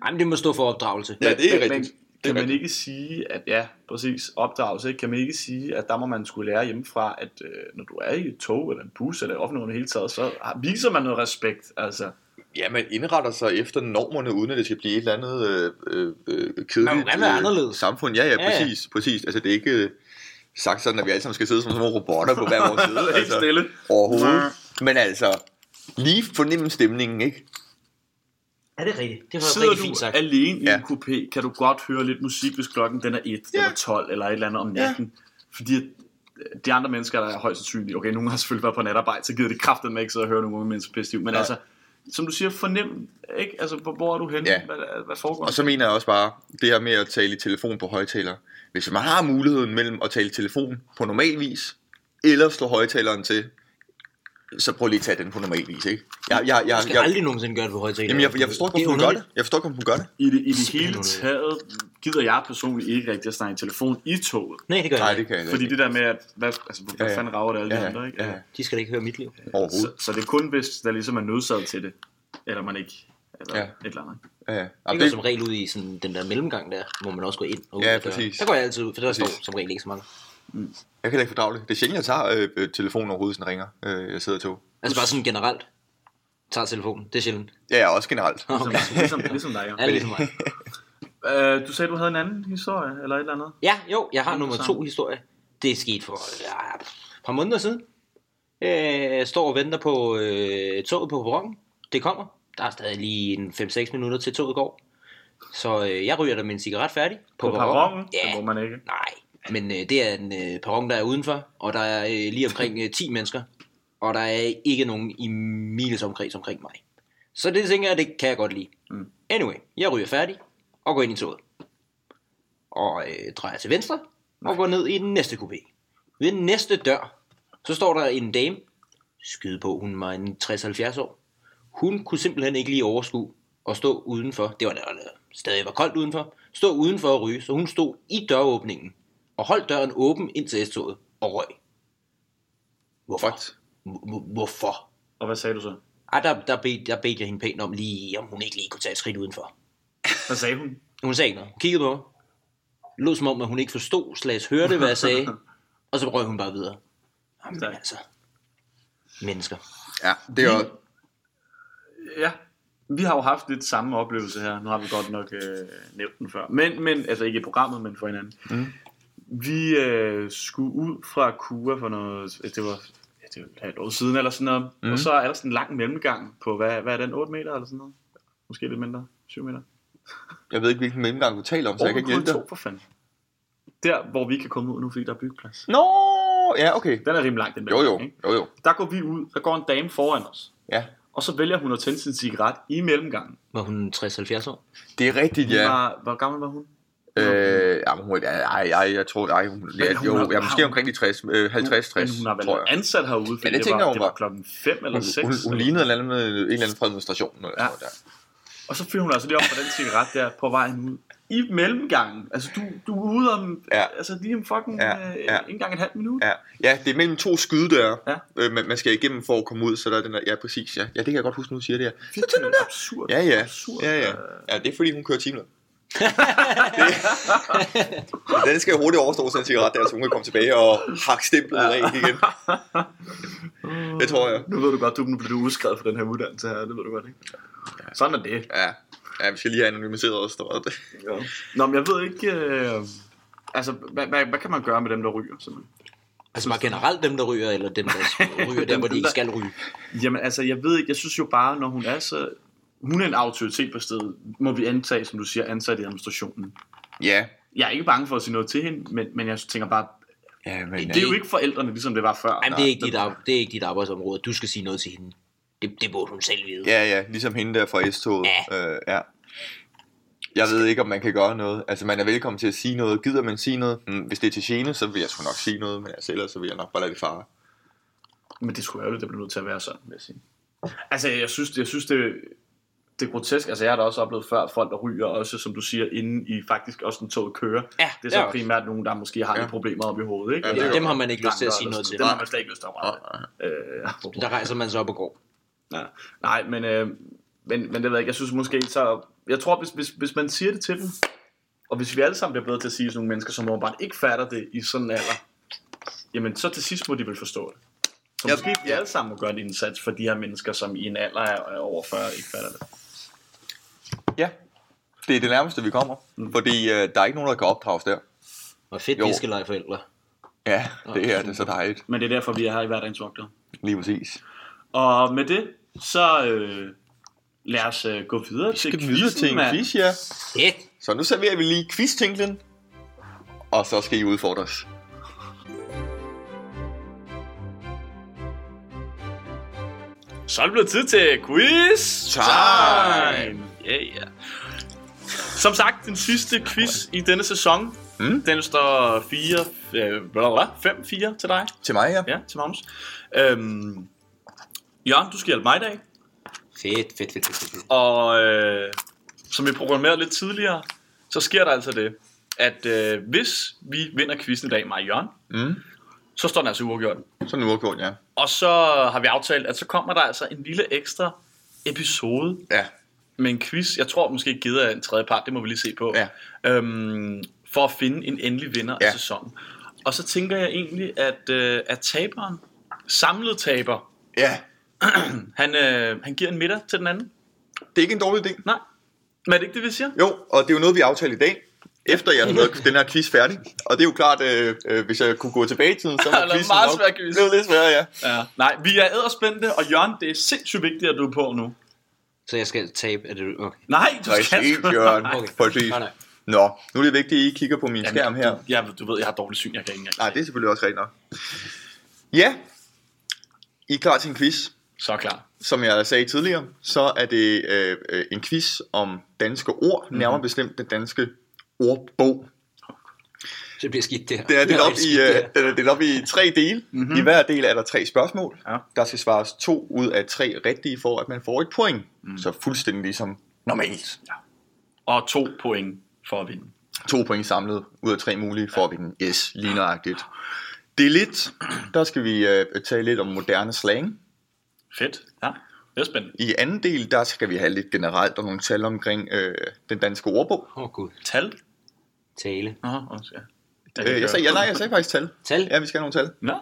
Speaker 3: Ej, men det må stå for opdragelse.
Speaker 2: Ja, det er
Speaker 1: Men- men
Speaker 2: rigtigt. Det er
Speaker 1: Kan man
Speaker 2: rigtigt.
Speaker 1: ikke sige, at ja, præcis, opdragelse, ikke? kan man ikke sige, at der må man skulle lære hjemmefra, at øh, når du er i et tog eller en bus eller i offentligheden i det hele taget, så har- viser man noget respekt, altså.
Speaker 2: Ja, man indretter sig efter normerne, uden at det skal blive et eller andet øh, øh, øh,
Speaker 3: Man må
Speaker 2: kedeligt
Speaker 3: gerne være anderledes.
Speaker 2: samfund. Ja, ja,
Speaker 3: Ja, ja.
Speaker 2: præcis, præcis. Altså, det er ikke øh, sagt sådan, at vi alle sammen skal sidde som sådan nogle robotter på hver vores side.
Speaker 1: Helt
Speaker 2: altså,
Speaker 1: stille.
Speaker 2: Overhovedet. Men altså, lige fornemme stemningen, ikke?
Speaker 3: Ja, det er rigtigt. Det var
Speaker 1: Sidder
Speaker 3: rigtig fint
Speaker 1: du
Speaker 3: sagt.
Speaker 1: alene i
Speaker 2: Ja.
Speaker 1: en coupé, kan du godt høre lidt musik, hvis klokken den er 1 ja. eller 12 eller et eller andet om natten. Ja. Fordi at, øh, de andre mennesker, der er højst sandsynligt, okay, nogen har selvfølgelig været på natarbejde, så gider det kraftet med ikke sidde og høre nogle unge mennesker pisse Men
Speaker 2: Nej.
Speaker 1: ja. altså, som du siger, fornem, ikke? Altså, hvor, hvor er du henne?
Speaker 2: Ja.
Speaker 1: Ja. Hvad, hvad foregår?
Speaker 2: Og så mener jeg også bare, det her med at tale i telefon på højtaler. Hvis man har muligheden mellem at tale i telefon på normal vis, eller slå højtaleren til, så prøv lige at tage den på normal vis, ikke? Jeg, jeg, jeg,
Speaker 3: Jeg skal
Speaker 2: jeg, jeg,
Speaker 3: aldrig nogensinde gøre det på højtaler.
Speaker 2: jamen, jeg, jeg forstår ikke,
Speaker 3: Det er
Speaker 2: hvorfor hun gør det.
Speaker 3: underligt.
Speaker 2: Jeg forstår ikke, hvorfor hun gør det.
Speaker 1: I det, i det hele
Speaker 3: Spændende.
Speaker 1: taget gider jeg personligt ikke rigtig at snakke i telefon i toget.
Speaker 3: Nej, det gør
Speaker 2: Nej,
Speaker 3: jeg
Speaker 2: det
Speaker 3: ikke.
Speaker 2: kan jeg
Speaker 1: Fordi
Speaker 2: ikke.
Speaker 1: det der med, at hvad, altså, hvor
Speaker 2: Ja, ja.
Speaker 1: ja, fanden rager det alle
Speaker 2: Ja,
Speaker 1: de
Speaker 2: ja,
Speaker 1: andre, ikke?
Speaker 2: ja, ja.
Speaker 3: De skal da ikke høre mit liv.
Speaker 1: Så,
Speaker 2: Overhovedet.
Speaker 1: så det er kun, hvis der ligesom er nødsaget til det. Eller man ikke. Eller
Speaker 2: Ja.
Speaker 1: ja. et eller andet.
Speaker 2: Ja, ja.
Speaker 3: Jeg
Speaker 2: Jamen,
Speaker 3: går
Speaker 2: det,
Speaker 3: som regel ud i sådan, den der mellemgang der, hvor man også går ind og ud.
Speaker 2: Ja,
Speaker 3: af døren.
Speaker 2: præcis.
Speaker 3: Der går jeg altid ud, for der
Speaker 2: Præcis.
Speaker 3: står som regel ikke så mange.
Speaker 2: jeg kan da ikke fordrage det. Det er sjældent, jeg tager øh, øh, telefonen overhovedet, sådan ringer. Øh, jeg sidder i tog.
Speaker 3: Altså bare sådan generelt. Tager telefonen, det er sjældent.
Speaker 2: Ja, ja, også generelt.
Speaker 1: Ligesom, okay. ligesom, ligesom dig,
Speaker 3: Er
Speaker 1: ja.
Speaker 3: det ligesom mig?
Speaker 1: Øh, du sagde, du havde en anden historie, eller et eller andet.
Speaker 3: Ja, jo, jeg har nummer
Speaker 1: Interessant.
Speaker 3: to historie. Det er sket for ja, et par måneder siden. Øh, Jeg står og venter på øh, toget på perronen. Det kommer. Der er stadig lige en 5-6 minutter til toget går. Så øh, jeg ryger da min cigaret færdig på,
Speaker 1: På perronen, ja. det
Speaker 3: Ja,
Speaker 1: må man ikke.
Speaker 3: nej. Men øh, det er en øh, perron, der er udenfor, og der er øh, lige omkring øh, 10 mennesker. Og der er ikke nogen i miles omkreds omkring mig. Så det tænker jeg, det kan jeg godt lide.
Speaker 1: Mm.
Speaker 3: Anyway, jeg ryger færdig og går ind i toget. Og øh, drejer til venstre og går ned i den næste kupé. Ved den næste dør, så står der en dame. Skyd på, hun var en 60-70 år. Hun kunne simpelthen ikke lige overskue at stå udenfor. Det var da der stadig var koldt udenfor. Stå udenfor og ryge, så hun stod i døråbningen og holdt døren åben ind til S-toget og røg. Hvorfor?
Speaker 2: What?
Speaker 3: Hvor- hvor- Hvorfor?
Speaker 1: Og hvad sagde du så?
Speaker 3: Ej, der, der, bed, der bed jeg hende pænt om lige, om hun ikke lige kunne tage et skridt udenfor.
Speaker 1: Hvad sagde hun?
Speaker 3: Hun sagde ikke noget. Hun kiggede på mig. Lå som om, at hun ikke forstod, slags hørte, hvad jeg sagde. Og så røg hun bare videre. Jamen
Speaker 1: Stærkt.
Speaker 3: altså. Mennesker.
Speaker 2: Ja, det er jo...
Speaker 1: Ja, vi har jo haft lidt samme oplevelse her. Nu har vi godt nok øh, nævnt den før. Men, men, altså ikke i programmet, men for hinanden.
Speaker 2: Mm.
Speaker 1: Vi øh, skulle ud fra Kura for noget, altså, det var, ja, det var et halvt år siden eller sådan noget.
Speaker 2: Mm.
Speaker 1: Mm. Og så er der sådan en lang mellemgang på, hvad, hvad er den, 8 meter eller sådan noget? Måske lidt mindre, 7 meter.
Speaker 2: Jeg ved ikke, hvilken mellemgang du taler om, så Altså, jeg kan ikke hjælpe dig.
Speaker 1: to for fanden. Der, hvor vi kan komme ud nu, fordi der er byggeplads.
Speaker 2: Nå, ja, okay.
Speaker 1: Den er rimelig langt, den
Speaker 2: Jo, jo,
Speaker 1: mellemgang, ikke?
Speaker 2: jo, jo.
Speaker 1: Der går vi ud, der går en dame foran os.
Speaker 2: Ja.
Speaker 1: Og så vælger hun at tænde sin cigaret i mellemgangen.
Speaker 3: Var hun 60-70 år?
Speaker 2: Det er rigtigt,
Speaker 1: Ja.
Speaker 2: ja.
Speaker 1: Var, hvor gammel var hun?
Speaker 2: Øh, jamen, hun, ja, ej, ej, jeg tror, ej, hun, ja,
Speaker 1: Men hun
Speaker 2: jo,
Speaker 1: har-
Speaker 2: ja, måske omkring de 60, øh, 50-60,
Speaker 1: Men hun har
Speaker 2: tror jeg.
Speaker 1: været ansat herude, fordi
Speaker 2: det
Speaker 1: det,
Speaker 2: tænker
Speaker 1: det, var,
Speaker 2: hun
Speaker 1: det var
Speaker 2: var.
Speaker 1: klokken 5 eller
Speaker 2: Hun,
Speaker 1: 6.
Speaker 2: hun, hun lignede en eller anden, med, en eller anden fra administrationen. Eller
Speaker 1: Ja.
Speaker 2: ja. sådan noget der.
Speaker 1: Og så fyrer hun altså lige op på den cigaret der på vejen ud. I mellemgangen. Altså, du, du er ude om...
Speaker 2: Ja.
Speaker 1: Ja. Altså, lige om fucking...
Speaker 2: Ja,
Speaker 1: Ja.
Speaker 2: ja.
Speaker 1: Ja. Øh, en gang en halv minut. Ja.
Speaker 2: Ja. ja, det er mellem to skydedøre, ja.
Speaker 1: Ja.
Speaker 2: øh, man, man skal igennem for at komme ud, så der er den der, ja, præcis, ja. ja, det kan jeg godt huske, nu du siger det her.
Speaker 1: Så tænder det absurd.
Speaker 2: Ja, ja,
Speaker 1: Absurd.
Speaker 2: ja, ja.
Speaker 1: øh,
Speaker 2: ja, det er fordi, hun kører
Speaker 1: (laughs)
Speaker 2: timeløn. Det- (laughs) den skal hurtigt overstå sådan en cigaret der, så hun kan komme tilbage og hakke stemplet ja. rent
Speaker 1: (laughs)
Speaker 2: igen. Det tror jeg.
Speaker 1: Nu ved du godt, du nu bliver du udskrevet fra den her uddannelse her. Det ved du godt, ikke? Ja. Sådan er det.
Speaker 2: Ja, ja vi skal lige have anonymiseret os, der var det.
Speaker 1: Ja. Nå, men jeg ved ikke... Øh, altså, hvad, hvad, hvad, kan man gøre med dem, der ryger, simpelthen?
Speaker 3: Altså bare generelt dem, der ryger, eller
Speaker 2: (laughs)
Speaker 3: dem, der ryger, der,
Speaker 1: Dem,
Speaker 3: hvor de
Speaker 1: dem,
Speaker 3: ikke
Speaker 1: der-
Speaker 3: skal ryge.
Speaker 1: Jamen altså, jeg ved ikke, jeg synes jo bare, når hun er så... Hun er en autoritet på stedet, må vi antage, som du siger, ansat i administrationen.
Speaker 2: Ja.
Speaker 1: Jeg er ikke bange for at sige noget til hende, men, men jeg tænker bare,
Speaker 2: Ja, men,
Speaker 1: det er jo ikke forældrene, ligesom det var før.
Speaker 3: Jamen, det er, ikke dit, ar- det er ikke dit arbejdsområde. Du skal sige noget til hende. Det, det burde hun selv vide.
Speaker 2: Ja, ja, ligesom hende der fra S-toget. Ja. Øh, ja. Jeg ved ikke, om man kan gøre noget. Altså, man er velkommen til at sige noget. Gider man sige noget? Mm, hvis det er til gene, så vil jeg sgu nok sige noget, men altså, ellers så vil jeg nok bare lade det fare.
Speaker 1: Men det skulle ærgerligt, det blev nødt til at være sådan, vil jeg sige. Altså, jeg synes, jeg synes det, det er grotesk. Altså, jeg har da også oplevet før, at folk der ryger, også som du siger, inden i faktisk også den toget kører.
Speaker 3: Ja,
Speaker 1: det er
Speaker 3: det er
Speaker 1: så
Speaker 3: også.
Speaker 1: primært nogen, der måske har ja. lidt problemer op i hovedet. Ikke?
Speaker 2: Ja,
Speaker 1: Eller
Speaker 2: det er
Speaker 3: Dem har man ikke lyst til at
Speaker 1: banker
Speaker 3: sige
Speaker 1: eller
Speaker 3: noget
Speaker 1: sådan
Speaker 3: til.
Speaker 1: Dem har man slet ikke lyst til at røre.
Speaker 2: Nej,
Speaker 1: Øh, apropos.
Speaker 3: Der rejser man sig op og går.
Speaker 1: Ja. Nej, men, øh, men, men det ved jeg ikke. Jeg synes måske, så... Jeg tror, hvis, hvis, hvis man siger det til dem, og hvis vi alle sammen bliver bedre til at sige sådan nogle mennesker, som åbenbart ikke fatter det i sådan en alder, jamen så til sidst må de vel forstå det. Så
Speaker 2: Ja.
Speaker 1: måske vi alle sammen må gøre en indsats for de her mennesker, som i en alder er er over 40 ikke fatter det.
Speaker 2: Ja. Det er det nærmeste, vi kommer. Mm. Fordi øh, der er ikke nogen, der kan opdrages der.
Speaker 3: Og fedt,
Speaker 2: Jo.
Speaker 3: de skal lege forældre.
Speaker 2: Ja, det er
Speaker 3: super.
Speaker 2: det er så dejligt.
Speaker 1: Men det er derfor, vi er her i hverdagens vogter.
Speaker 2: Lige præcis.
Speaker 1: Og med det, så øh, lad os øh, gå videre til
Speaker 2: Skal vi videre til en
Speaker 1: mand.
Speaker 2: quiz, ja.
Speaker 3: Fedt.
Speaker 2: Så nu serverer vi lige quiz-tinklen. Og så skal I udfordres.
Speaker 1: Så er det blevet tid til quiz
Speaker 2: Time!
Speaker 1: Ja, yeah, ja. Som sagt, den sidste quiz i denne sæson.
Speaker 2: Mm.
Speaker 1: Mm. Den står 4, øh, blablabla, 5-4 til dig.
Speaker 2: Til mig, ja.
Speaker 1: Ja, til Magnus. Øhm, Jørgen, du skal hjælpe mig i dag.
Speaker 3: Fedt, fedt, fedt, fedt, fedt, fedt.
Speaker 1: Og øh, som vi programmerede lidt tidligere, så sker der altså det, at øh, hvis vi vinder quizzen i dag, mig og Jørgen,
Speaker 2: Mm.
Speaker 1: så står den altså uafgjort.
Speaker 2: Sådan nu ja.
Speaker 1: Og så har vi aftalt, at så kommer der altså en lille ekstra episode
Speaker 2: Ja,
Speaker 1: med en quiz. Jeg tror måske givet af en tredje part, det må vi lige se på.
Speaker 2: Ja.
Speaker 1: Øhm, for at finde en endelig vinder ja.
Speaker 2: Ja.
Speaker 1: af sæsonen. Og så tænker jeg egentlig, at, øh, at taberen, samlet taber,
Speaker 2: ja.
Speaker 1: han, øh, han giver en middag til den anden.
Speaker 2: Det er ikke en dårlig idé.
Speaker 1: Nej. Men er det ikke det, vi siger?
Speaker 2: Jo, og det er jo noget, vi aftalte i dag, efter
Speaker 1: (laughs)
Speaker 2: jeg havde lavet den her quiz færdig. Og det er jo klart, øh, øh, hvis jeg kunne gå tilbage i tiden,
Speaker 1: (laughs)
Speaker 2: så var
Speaker 1: Det var
Speaker 2: quizzen
Speaker 1: meget
Speaker 2: nok
Speaker 1: svær quiz.
Speaker 2: blevet lidt sværere, ja.
Speaker 1: Ja. Nej, vi er æderspændte, og Jørgen, det er sindssygt vigtigt, at du er på nu.
Speaker 3: Så jeg skal tabe, er det okay?
Speaker 1: Nej, du skal
Speaker 2: Præcis,
Speaker 1: sgu- (laughs)
Speaker 2: Jørgen.
Speaker 1: Nej.
Speaker 3: Okay.
Speaker 2: Præcis.
Speaker 3: Nej, nej.
Speaker 2: Nå, nu er det vigtigt, at I kigger på min
Speaker 1: Jamen,
Speaker 2: skærm her.
Speaker 1: Du, jeg, du ved, jeg har dårligt syn, jeg kan ikke engang.
Speaker 2: Nej, det er selvfølgelig også rent nok. Ja, I er klar til en quiz.
Speaker 1: Så klar.
Speaker 2: Som jeg sagde tidligere, så er det øh, øh, en quiz om danske ord, mm-hmm.
Speaker 1: Mhm.
Speaker 2: nærmere bestemt den danske ordbog.
Speaker 3: Så bliver skidt det her.
Speaker 2: Det er delt
Speaker 3: Nej,
Speaker 2: op, i,
Speaker 3: skidt det
Speaker 2: øh,
Speaker 3: her.
Speaker 2: den er delt op i tre dele. Mm-hmm. I hver del er der tre spørgsmål.
Speaker 1: Ja.
Speaker 2: Der skal svares to ud af tre rigtige, for at man får et point. Mm. Så fuldstændig ligesom normalt.
Speaker 1: Og to point for at vinde.
Speaker 2: To point samlet ud af tre mulige, får vi den yes, lige nøjagtigt. Det er lidt, der skal vi øh, tale lidt om moderne slang.
Speaker 1: Fedt. Ja, det er spændende.
Speaker 2: I anden del, der skal vi have lidt generelt og nogle tal omkring øh, den danske ordbog.
Speaker 3: Åh oh, gud.
Speaker 1: Tal?
Speaker 3: Tale.
Speaker 1: Nå, også, ja.
Speaker 2: Øh, jeg sagde, ja, nej, jeg sagde faktisk tal.
Speaker 3: Tal?
Speaker 2: Ja, vi skal have nogle tal.
Speaker 1: Nå,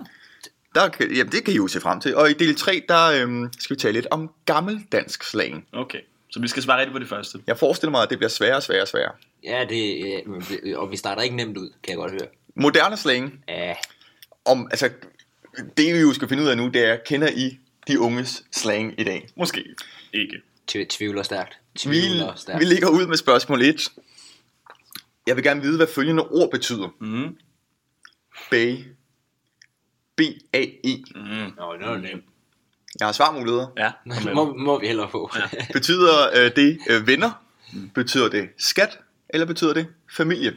Speaker 2: Der, kan- jamen, det kan I jo se frem til. Og i del 3, der øhm, skal vi tale lidt om gammeldansk slang.
Speaker 1: okay. Så vi skal svare rigtigt på det første.
Speaker 2: Jeg forestiller mig, at det bliver sværere og sværere og sværere.
Speaker 3: Ja, det, øh, og vi starter ikke nemt ud, kan jeg godt høre.
Speaker 2: Moderne slang,
Speaker 3: Ja,
Speaker 2: om, altså, det vi jo skal finde ud af nu, det er, kender I de unges slang i dag?
Speaker 1: Måske ikke.
Speaker 3: tv- tvivler stærkt.
Speaker 2: Vi,
Speaker 3: Tvivler stærkt.
Speaker 2: vi ligger ud med spørgsmål 1. Jeg vil gerne vide, hvad følgende ord betyder.
Speaker 1: Mm.
Speaker 2: Bage. B-A-E.
Speaker 1: Mm.
Speaker 3: Nå, det var nemt.
Speaker 2: E. Jeg har svarmuligheder.
Speaker 1: Ja, kom med.
Speaker 3: Må, må vi hellere få. Ja.
Speaker 2: Betyder øh, det øh, venner? Betyder det skat? Eller betyder det familie?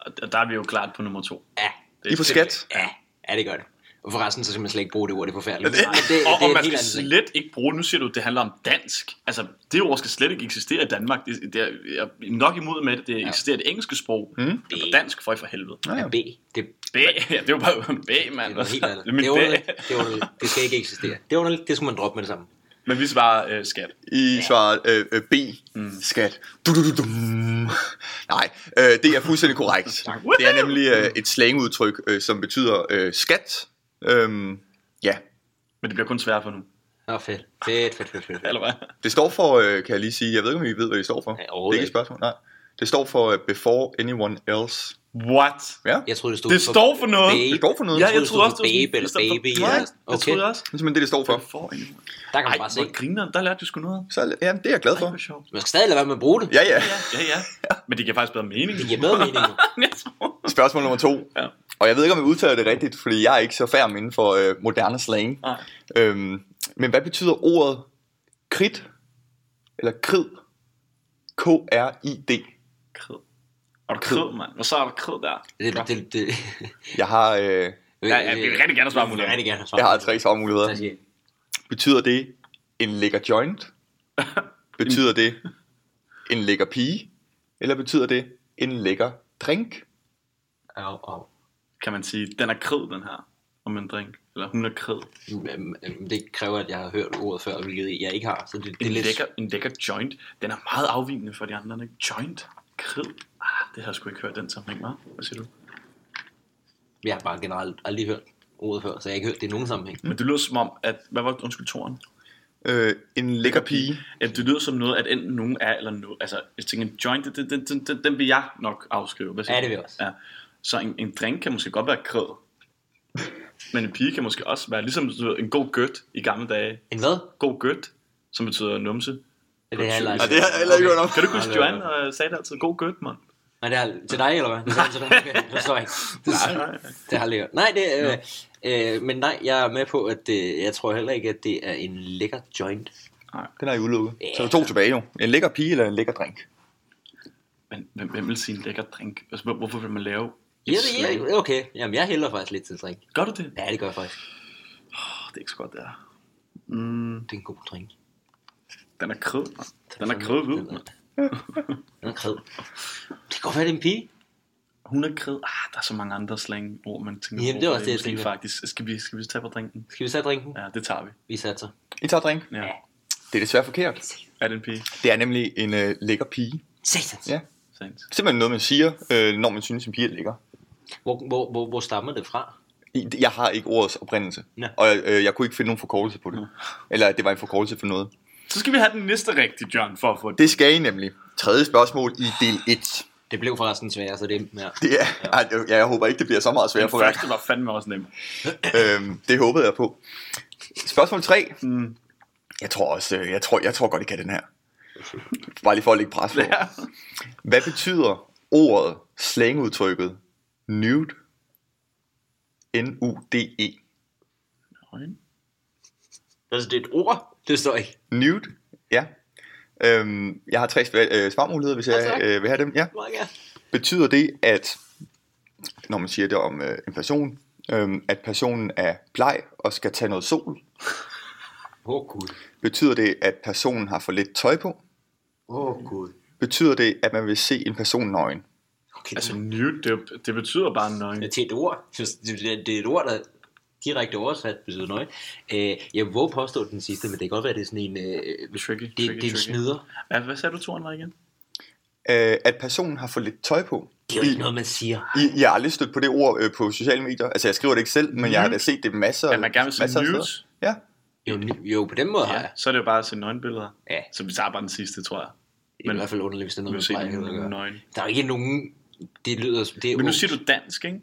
Speaker 1: Og der- der er vi jo klart på nummer to.
Speaker 3: (laughs) ja.
Speaker 1: Det
Speaker 2: I får skat.
Speaker 3: Ja, ja, det gør det. Og forresten, så skal man slet ikke bruge det ord, det er forfærdeligt.
Speaker 2: Ja, det-
Speaker 3: Nej, det, det,
Speaker 1: Og,
Speaker 3: er
Speaker 1: og
Speaker 3: en
Speaker 1: man
Speaker 3: helt
Speaker 1: skal
Speaker 3: anden ting.
Speaker 1: slet ikke bruge, nu siger du, at det handler om dansk. Altså, det ord skal slet ikke eksistere i Danmark. Det, det er, jeg er nok imod med, at det eksisterer i det engelske sprog. Mm. Det er på dansk, for i for helvede.
Speaker 2: Ja, ja.
Speaker 3: Ja, B. Det,
Speaker 1: B, ja, det er jo bare B,
Speaker 3: det
Speaker 1: mand.
Speaker 3: er noget helt andet.
Speaker 1: Det er min
Speaker 3: Det er
Speaker 1: B.
Speaker 3: underligt. Det, er underligt. det skal ikke eksistere. Det er underligt. Det skulle man droppe med det samme.
Speaker 1: Men vi svarer øh, skat.
Speaker 2: I svarer øh, øh, B. Skat. Du, du, du, dum. Nej, øh, det er fuldstændig korrekt.
Speaker 1: Tak.
Speaker 2: Det er nemlig øh, et slangudtryk, øh, som betyder øh, skat. Øhm, ja,
Speaker 1: Men det bliver kun sværere for nu.
Speaker 3: Nå, fedt. Fedt, fedt, fedt, fedt. fedt.
Speaker 1: Eller hvad?
Speaker 2: det står for, øh, kan jeg lige sige, jeg ved ikke, om I ved, hvad det står for.
Speaker 3: Ja,
Speaker 2: det er
Speaker 3: overhovedet
Speaker 2: ikke et
Speaker 3: ikke.
Speaker 2: spørgsmål, nej. Det står for øh, before anyone else.
Speaker 1: What?
Speaker 2: Ja,
Speaker 3: Jeg troede, det stod
Speaker 1: Det står for noget.
Speaker 2: det står for noget.
Speaker 1: Ja,
Speaker 2: Ja,
Speaker 3: troede,
Speaker 1: jeg troede
Speaker 3: det stod
Speaker 1: også,
Speaker 3: for
Speaker 1: det var sådan-
Speaker 3: babe eller
Speaker 1: det stod for-
Speaker 3: baby,
Speaker 1: Nej,
Speaker 3: eller-
Speaker 1: jeg
Speaker 3: okay.
Speaker 1: troede også.
Speaker 2: Det er simpelthen det, det står for.
Speaker 1: For en-
Speaker 3: Der kan
Speaker 1: Ej,
Speaker 3: man bare se.
Speaker 1: hvor griner Der lærte du sgu noget.
Speaker 2: Så, ja, det er jeg glad
Speaker 1: Ej,
Speaker 2: for.
Speaker 1: hvor sjovt.
Speaker 3: Man skal stadig lade være med at bruge det.
Speaker 2: Ja, ja.
Speaker 1: Ja, ja. Men det giver faktisk bedre mening. (laughs)
Speaker 3: Det giver bedre mening nu.
Speaker 1: Jeg tror-
Speaker 2: Spørgsmål nummer to.
Speaker 1: Ja.
Speaker 2: Ja. Og jeg ved ikke, om jeg udtaler det rigtigt, fordi jeg er ikke så færm inden for øh, moderne slang.
Speaker 1: Nej.
Speaker 2: Øhm, men hvad betyder ordet kridt? Eller krid? K-R-I-D.
Speaker 1: Kred. Er du kred, mand? Hvor så er der kred der?
Speaker 3: Det, det, det, det.
Speaker 2: Jeg har, øh,
Speaker 1: Ja, ja, vi vil rigtig gerne svare på
Speaker 3: Vi vil
Speaker 1: det.
Speaker 3: rigtig gerne svare
Speaker 2: jeg har
Speaker 3: på
Speaker 2: tre
Speaker 3: Tak
Speaker 2: svarmuligheder.
Speaker 3: skal I have.
Speaker 2: Betyder det en lækker joint? Betyder det en lækker pige? Eller betyder det en lækker drink?
Speaker 3: Au, au.
Speaker 1: Kan man sige, den er kred, den her. Om en drink. Eller hun er kred.
Speaker 3: Øhm, øhm, Det kræver, at jeg har hørt ordet før, hvilket jeg ikke har. Så det, det er
Speaker 1: En,
Speaker 3: lidt...
Speaker 1: lækker, en lækker joint. Den er meget afvigende fra de andre. Ikke? Joint? Kred? Ah, det har jeg sgu ikke hørt den sammenhæng, hva'? Hvad siger du?
Speaker 3: Jeg har bare generelt aldrig hørt ordet før, så jeg har ikke hørt det i nogen sammenhæng.
Speaker 1: Men det lyder som om, at... Hvad var undskyld, toren?
Speaker 2: Øh, en lækker pige.
Speaker 1: Jamen, det lyder som noget, at enten nogen er eller noget. Altså, jeg tænker, en joint, den, den, den, den, den vil jeg nok afskrive. Hvad siger
Speaker 3: Ja,
Speaker 1: du?
Speaker 3: det vil jeg også.
Speaker 1: Ja. Så en, en drink kan måske godt være
Speaker 3: (laughs)
Speaker 1: kred. Men en pige kan måske også være ligesom du ved, en god gødt i gamle dage.
Speaker 3: En hvad?
Speaker 1: God gødt, som betyder numse.
Speaker 3: Det er heller
Speaker 1: Ja,
Speaker 3: ikke.
Speaker 2: det har jeg heller ikke hørt om.
Speaker 1: Kan du ikke huske,
Speaker 3: Hold da
Speaker 1: Joanne og sagde det altid? God gødt, mand.
Speaker 3: Nej, det er til dig, eller hvad? Det er til dig. Okay, det forstår
Speaker 2: (laughs)
Speaker 3: jeg ikke. Det,
Speaker 1: Nej.
Speaker 3: det har jeg aldrig hørt. Nej, det er... Øh, øh, men nej, jeg er med på, at det, jeg tror heller ikke, at det er en lækker joint.
Speaker 2: Den har I udelukket. Så er der to tilbage jo. En lækker pige eller en lækker drink?
Speaker 1: Men hvem, hvem vil sige en lækker drink? Altså, hvor- hvorfor vil man lave et
Speaker 3: Ja,
Speaker 1: slag?
Speaker 3: det er okay. Jamen, jeg hælder faktisk lidt til drink.
Speaker 1: Gør du det?
Speaker 3: Ja, det gør jeg faktisk.
Speaker 1: Oh, det er ikke så godt, det er. Mm,
Speaker 3: Det er en god drink.
Speaker 1: den er kred, mand. Den er kred, ved man.
Speaker 3: Den er kred. Det kan godt være, det er en pige.
Speaker 1: Hun er kred. Ah, der er så mange andre slangord, man tænker
Speaker 3: Jamen, det er også det, jeg
Speaker 1: Måske
Speaker 3: tænker.
Speaker 1: Faktisk. Skal vi, skal vi tage på drinken?
Speaker 3: Skal vi sætte drinken?
Speaker 1: Ja, det tager vi.
Speaker 3: Vi satser.
Speaker 2: I tager drink?
Speaker 1: Ja.
Speaker 2: Det er desværre forkert.
Speaker 1: Er det en pige?
Speaker 2: Det er nemlig en øh, lækker pige.
Speaker 3: Satans.
Speaker 2: Ja.
Speaker 1: Sandt.
Speaker 2: Simpelthen noget, man siger, øh, når man synes, en pige er lækker.
Speaker 3: Hvor, hvor, hvor, hvor stammer det fra?
Speaker 2: I- Jeg har ikke ordets oprindelse.
Speaker 3: Ja.
Speaker 2: Og øh, jeg kunne ikke finde nogen forkortelse på det. Eller at det var en forkortelse for noget.
Speaker 1: Så skal vi have den næste rigtige, John, for at få det.
Speaker 2: Det skal I nemlig. Tredje spørgsmål i del 1.
Speaker 3: Det blev forresten svært, så det er... Ja.
Speaker 2: Det er, ja. ej, det- ja, jeg håber ikke, det bliver så meget
Speaker 1: Den
Speaker 2: svært for jer.
Speaker 1: første var fandme også nem.
Speaker 2: Øhm, det håbede jeg på. Spørgsmål 3. Mm. Jeg tror også, øh, jeg tror, jeg tror godt, I kan den her. Bare lige for at lægge pres på.
Speaker 1: Ja.
Speaker 2: Hvad betyder ordet, slangudtrykket, nude? N-U-D-E.
Speaker 3: Altså, det er et ord. Det står ikke.
Speaker 2: Nude, ja. Øhm, jeg har tre sv- øh, svarmuligheder, hvis jeg
Speaker 3: tak.
Speaker 2: øh, vil have dem. Ja.
Speaker 3: Meget gerne.
Speaker 2: Betyder det, at når man siger det om øh, en person, øhm, at personen er bleg og skal tage noget sol?
Speaker 3: Åh, oh, Gud.
Speaker 2: Betyder det, at personen har for lidt tøj på?
Speaker 3: Åh, oh, Gud.
Speaker 2: Betyder det, at man vil se en person nøgen?
Speaker 3: Okay,
Speaker 1: Altså, nude, det, det betyder bare nøgen.
Speaker 3: Det er til et ord. Det, det, det er et ord, der direkte oversat betyder noget. Øh, jeg våger påstå den sidste, men det kan godt være, det er sådan en... Øh,
Speaker 1: Tricky,
Speaker 3: det,
Speaker 1: tricky,
Speaker 3: det er en
Speaker 1: tricky.
Speaker 3: snyder.
Speaker 1: Ja, hvad sagde du, Toren, var igen?
Speaker 2: Øh, at personen har for lidt tøj på?
Speaker 3: Det er jo ikke noget, man siger.
Speaker 2: I, I har aldrig stødt på det ord øh, på sociale medier. Altså, jeg skriver det ikke selv, men jeg har da set det masser
Speaker 1: Mhm. At man gerne vil se
Speaker 2: masser af
Speaker 1: nudes.
Speaker 2: steder. Ja.
Speaker 3: Jo, ny- jo på den måde har
Speaker 1: Ja,
Speaker 3: jeg.
Speaker 1: så er det jo bare at se nøgenbilleder.
Speaker 3: Ja.
Speaker 1: Så vi tager bare den sidste, tror jeg.
Speaker 3: Det er i hvert fald underligt, hvis det er noget
Speaker 1: vil
Speaker 3: med
Speaker 1: se
Speaker 3: plejhed at
Speaker 1: nogen
Speaker 3: gøre.
Speaker 1: nøgen.
Speaker 3: Der er ikke nogen... Det lyder... som- Det er
Speaker 1: Men nu
Speaker 3: ungt.
Speaker 1: siger du dansk, ikke?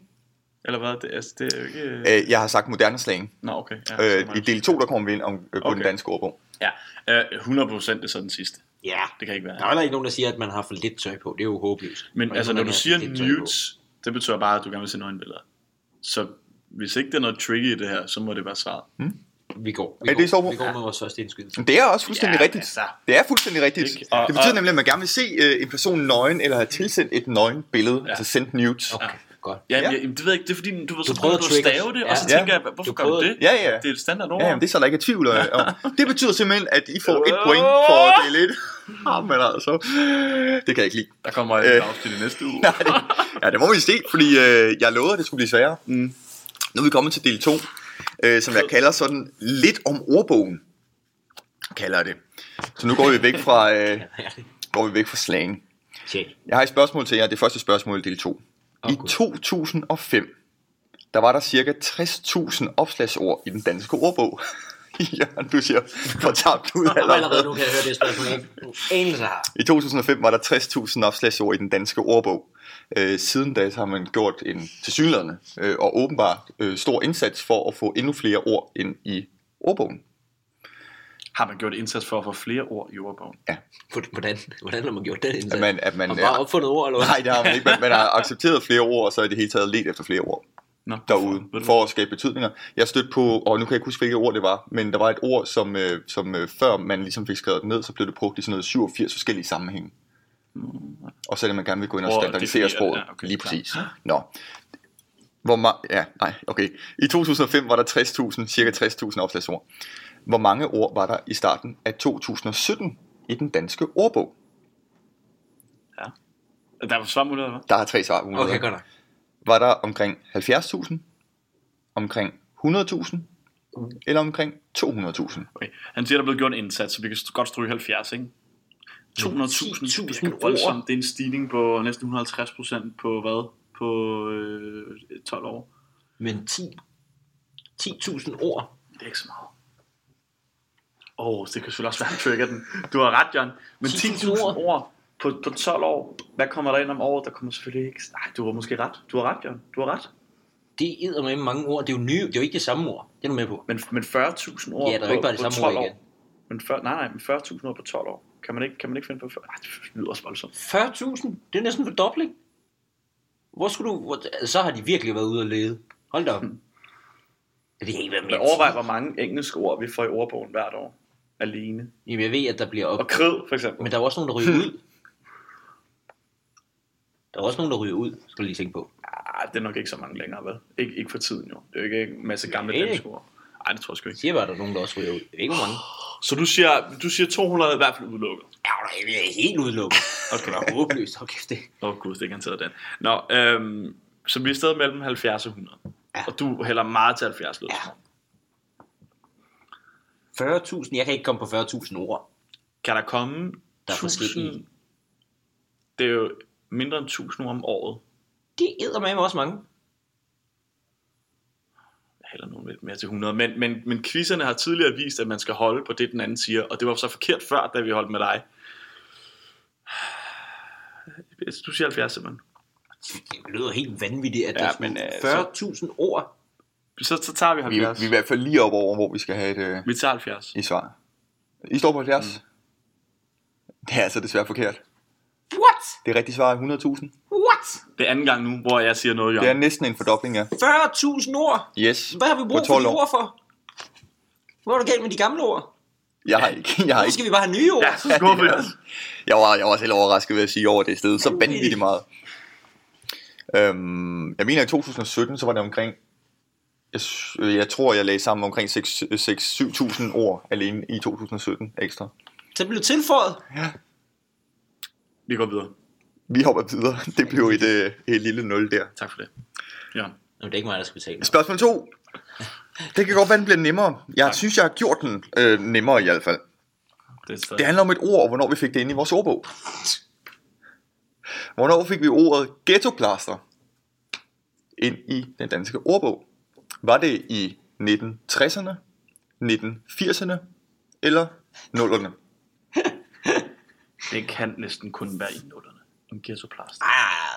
Speaker 1: Eller hvad? Det, altså, det er jo ikke... Øh...
Speaker 2: Øh, jeg har sagt moderne slang.
Speaker 1: Nå, okay. Ja, så
Speaker 2: Øh,
Speaker 1: meget.
Speaker 2: I del 2, der kommer vi ind om, øh, på okay. den
Speaker 1: Okay.
Speaker 2: danske ordbog.
Speaker 1: Ja, øh, 100 procent er så den sidste.
Speaker 3: Ja.
Speaker 1: Det kan ikke være.
Speaker 3: Der er heller ikke nogen, der siger, at man har for lidt tøj på. Det er jo håbløst.
Speaker 1: Men
Speaker 3: Og
Speaker 1: altså,
Speaker 3: ikke
Speaker 1: når
Speaker 3: nogen,
Speaker 1: du
Speaker 3: der
Speaker 1: siger
Speaker 3: har for lidt tøj på.
Speaker 1: nudes, det betyder bare, at du gerne vil se nøgenbilleder. Så hvis ikke det er noget tricky i det her, så må det være svaret.
Speaker 3: Vi går. Vi
Speaker 2: Er det
Speaker 3: går,
Speaker 2: så hvor-
Speaker 3: vi går med vores første indskydelse.
Speaker 2: Men Det er også fuldstændig
Speaker 1: Ja,
Speaker 2: rigtigt.
Speaker 1: altså.
Speaker 2: Det er fuldstændig rigtigt.
Speaker 1: Ikke? Og-
Speaker 2: det betyder
Speaker 1: og-
Speaker 2: nemlig, at man gerne vil se øh, en person nøgen, eller have tilsendt et nøgen billede, ja. altså sendt nudes.
Speaker 3: Okay, godt.
Speaker 1: Ja,
Speaker 2: Ja.
Speaker 1: ja. Jamen, det ved jeg ikke, det er fordi, du ved, så
Speaker 3: Du prøvede
Speaker 1: prøver du at
Speaker 3: at trigge
Speaker 1: stave
Speaker 3: os.
Speaker 1: det,
Speaker 3: Ja.
Speaker 1: og så
Speaker 2: Ja.
Speaker 1: tænker jeg, hvorfor
Speaker 3: Du
Speaker 1: gør du
Speaker 3: prøvede-
Speaker 1: det?
Speaker 2: Ja, ja.
Speaker 1: Det er et standard ord.
Speaker 2: Ja, jamen, det er så der ikke er
Speaker 1: (laughs)
Speaker 2: tvivl øh, om. Det betyder simpelthen, at I får et point for del
Speaker 1: (laughs)
Speaker 2: 1. Jamen altså, det kan jeg ikke lide.
Speaker 1: Der kommer et
Speaker 2: Øh.
Speaker 1: øh. afsnit i næste uge.
Speaker 2: Nej, det- ja, det må vi se, fordi øh, jeg lovede, at det skulle blive sværere. Mm. Nu er vi kommet til del 2, øh, som jeg kalder sådan lidt om ordbogen, kalder jeg det. Så nu går vi væk fra, øh, går vi væk fra slang.
Speaker 3: Tjek.
Speaker 2: Jeg har et spørgsmål til jer, det første spørgsmål i del 2. I
Speaker 3: Gud.
Speaker 2: 2005, der var der cirka 60.000 opslagsord i den danske ordbog. (laughs) Jørgen, du siger, for tabt ud
Speaker 3: Og allerede
Speaker 2: allerede.
Speaker 3: nu kan jeg høre det spørgsmål. Jeg ikke nogen anelse har.
Speaker 2: I 2005 var der 60.000 opslagsord i den danske ordbog. Øh, siden da så har man gjort en tilsyneladende øh, og åbenbart øh, stor indsats for at få endnu flere ord ind i ordbogen.
Speaker 1: Har man gjort indsats for at få flere ord i ordbogen?
Speaker 3: Hvor- Hvordan, hvordan har man gjort den indsats?
Speaker 2: At man- at man-
Speaker 3: har bare opfundet ord, eller hvad?
Speaker 2: (laughs) Nej, det har man ikke. Man, man har accepteret flere ord, og så i det hele taget let efter flere ord
Speaker 1: Nå, ved
Speaker 2: derude,
Speaker 1: du
Speaker 2: for at skabe betydninger. Jeg stødte på, og nu kan jeg ikke huske, hvilket ord det var, men der var et ord, som, øh, som øh, før man ligesom fik skrevet det ned, så blev det brugt i sådan noget 87 forskellige sammenhænge. Og så er det, man gerne vil gå ind og
Speaker 1: Hvor
Speaker 2: standardisere
Speaker 1: definerer-
Speaker 2: sproget.
Speaker 1: ja, okay,
Speaker 2: Lige
Speaker 1: klar.
Speaker 2: præcis. Nå. Hvor ma- ja, nej, okay. I 2005 var der 60.000, cirka 60.000 opslagsord. Hvor mange ord var der i starten af 2017 i den danske ordbog?
Speaker 1: Der var svarmuligheder, hva'?
Speaker 2: Der er tre svar.
Speaker 3: Okay, godt nok.
Speaker 2: var der omkring 70.000, omkring 100.000
Speaker 3: Mm.
Speaker 2: eller omkring 200.000.
Speaker 1: Okay. Han siger, der er blevet gjort en indsats, så vi kan st- godt stryge 70, ikke? 200.000 det er jo voldsomt. Det er en stigning på næsten 150 procent på hvad? På øh, 12 år.
Speaker 3: Men 10 10.000 ord.
Speaker 1: Det er ikke så meget. Åh, oh, det kan selvfølgelig også være, at trigger den. Du har ret, John. Men
Speaker 3: 10.000
Speaker 1: 10.000 ord på, på 12 år. Hvad kommer der ind om året? Der kommer selvfølgelig ikke... Nej, du har måske ret. Du har ret, John. Du har ret.
Speaker 3: Det er med mange ord. Det er jo nye. Det er jo ikke det samme ord. Det er du med på.
Speaker 1: Men, men 40.000 ord
Speaker 3: Ja, der er
Speaker 1: på,
Speaker 3: jo ikke bare det
Speaker 1: på
Speaker 3: samme ord
Speaker 1: 12 år.
Speaker 3: igen.
Speaker 1: Men 40, nej, nej, men 40.000 ord på 12 år. Kan man ikke, kan man ikke finde på 40? Ej, det lyder også voldsomt.
Speaker 3: 40.000. Det er næsten en fordobling. Hvor skulle du... Hvor, altså, så har de virkelig været ude og lede. Hold da op. Det er ikke været
Speaker 1: Men
Speaker 3: mere.
Speaker 1: overvej, hvor mange engelske ord vi får i ordbogen hvert år. Alene.
Speaker 3: Jamen, jeg ved, at der bliver op...
Speaker 1: Og kred, for eksempel.
Speaker 3: Men der er også nogen, der ryger ud. Der er også nogen, der ryger ud, skal du lige tænke på.
Speaker 1: Ah, det er nok ikke så mange længere, vel? Ikke, ikke for tiden, jo. Det er jo ikke en masse gamle
Speaker 3: Nej.
Speaker 1: danske ord. Ej, det tror jeg sgu
Speaker 3: Jeg
Speaker 1: ikke.
Speaker 3: siger bare, at der er nogen, der også ryger ud. Jeg ved ikke, hvor mange.
Speaker 1: Så du siger, du siger 200 er i hvert fald udelukket.
Speaker 3: Ja, det er helt udelukket.
Speaker 1: Okay.
Speaker 3: Det er håbløst. Hold kæft, det.
Speaker 1: Åh oh, gud, det er garanteret den. Nå, øhm, så vi er stadig mellem 70 og 100. Ja. Og du hælder meget til 70 lød. Ja.
Speaker 3: 40.000, jeg kan ikke komme på 40.000 ord.
Speaker 1: Kan der komme
Speaker 3: Der er
Speaker 1: 1000...
Speaker 3: forskellige.
Speaker 1: Det er jo mindre end 1000 ord om året.
Speaker 3: Det æder med også mange.
Speaker 1: Jeg hælder nogen lidt mere til 100. Men, men, men quizzerne har tidligere vist, at man skal holde på det, den anden siger. Og det var så forkert før, da vi holdt med dig. Du siger 70 simpelthen.
Speaker 3: Det lyder helt vanvittigt, at
Speaker 1: Ja,
Speaker 3: ja,
Speaker 1: men, øh,
Speaker 3: der skulle 40.000 ord.
Speaker 1: Så, så tager vi
Speaker 2: Vi, er-
Speaker 1: 70.
Speaker 2: vi er i hvert fald lige op over, hvor vi skal have et, øh,
Speaker 1: Vi tager 70.
Speaker 2: et svar. I står på 70.
Speaker 3: Mm.
Speaker 2: Det er altså desværre forkert.
Speaker 3: What?
Speaker 2: Det rigtige svar er 100.000.
Speaker 3: What?
Speaker 1: Det er anden gang nu, hvor jeg siger noget,
Speaker 2: Det er
Speaker 1: Jørgen.
Speaker 2: næsten en fordobling af.
Speaker 3: 40.000 ord?
Speaker 2: Yes.
Speaker 3: Hvad har vi brug
Speaker 2: På
Speaker 3: for
Speaker 2: 12
Speaker 3: de
Speaker 2: år.
Speaker 3: ord for? Hvor er du galt med de gamle ord?
Speaker 2: Jeg har ikke. Jeg, har
Speaker 3: Nu
Speaker 2: ikke.
Speaker 3: skal vi bare have nye ord.
Speaker 1: Ja, så
Speaker 2: (laughs)
Speaker 1: skuffer vi os.
Speaker 2: jeg, var, jeg var selv overrasket ved at sige over at det sted. Så
Speaker 3: Vanvittigt.
Speaker 2: vanvittigt meget. Øhm, jeg mener, i 2017, så var det omkring... Jeg, s- øh, jeg tror, jeg lagde sammen omkring 6-7.000 ord alene i 2017 ekstra.
Speaker 3: Så blev det tilføjet.
Speaker 1: Vi går videre.
Speaker 2: Vi hopper videre. (laughs) Det blev et, øh, et lille nul der.
Speaker 1: Tak for det. Jørgen.
Speaker 3: Nå, det er ikke mig, der skal betale.
Speaker 2: Spørgsmål 2. Det kan godt være, den bliver nemmere. Jeg synes, jeg har gjort den øh, nemmere i hvert fald.
Speaker 1: Det er stadig.
Speaker 2: Det handler om et ord, og hvornår vi fik det ind i vores ordbog. Hvornår fik vi ordet ghettoplaster ind i den danske ordbog? Var det i 1960'erne, 1980'erne eller 0'erne?
Speaker 1: Det kan næsten kun være i nullerne. En ghettoplast.
Speaker 3: Ah,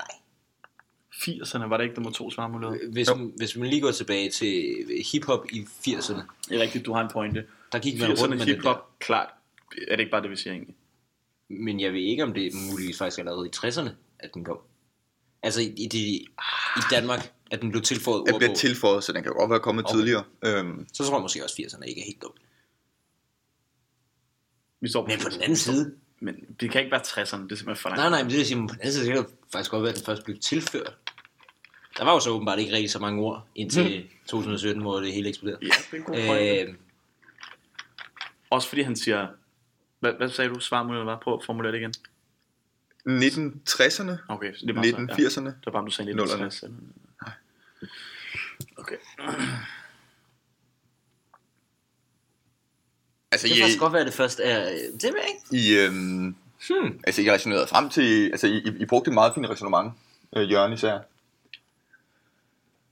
Speaker 1: 80'erne var det ikke nummer to svarmulighed.
Speaker 3: hvis, hvis man lige går tilbage til hiphop i 80'erne,
Speaker 1: Det er rigtigt, du har en pointe.
Speaker 3: der gik man rundt
Speaker 1: 80'erne
Speaker 3: med det der.
Speaker 1: hiphop, klart. Er det ikke bare det, vi siger egentlig?
Speaker 3: Men jeg ved ikke, om det er muligvis faktisk allerede i 60'erne, at den kom. Altså i, i, de, i Danmark, at den blev tilføjet
Speaker 2: Den bliver
Speaker 3: ordbog. Til...
Speaker 2: tilføjet, så den kan godt være kommet okay. tidligere. Øhm,
Speaker 3: Så tror jeg måske også, at 80'erne ikke er helt dumt.
Speaker 1: Vi står på
Speaker 3: Men på
Speaker 1: 80'erne.
Speaker 3: den anden side,
Speaker 1: Men det kan ikke være 60'erne, det er simpelthen for langt.
Speaker 3: nej nej, men det vil sige, men på den anden side, det kan jo faktisk godt være, at den først blev tilført. Der var jo så åbenbart ikke rigtig så mange ord indtil 2017, hvor det hele eksploderede.
Speaker 1: Ja, det er en god pointe.
Speaker 3: Øh,
Speaker 1: Også fordi han siger... Hvad, hvad sagde du, svarmuligheden var? Prøv at formulere det igen.
Speaker 2: 1960'erne,
Speaker 1: Okay, så det var så, ja.
Speaker 2: 1980'erne.
Speaker 1: Det var bare, om du sagde
Speaker 2: Nullerne.
Speaker 1: 1960. eller- Okay.
Speaker 2: Altså,
Speaker 3: det
Speaker 2: i,
Speaker 3: kan faktisk godt være, at det først er... Det ved jeg ikke.
Speaker 2: i, øhm,
Speaker 3: Hmm.
Speaker 2: altså, I resonerede frem til... Altså, I, I- I brugte et meget fint resonemang, øh, Jørgen især.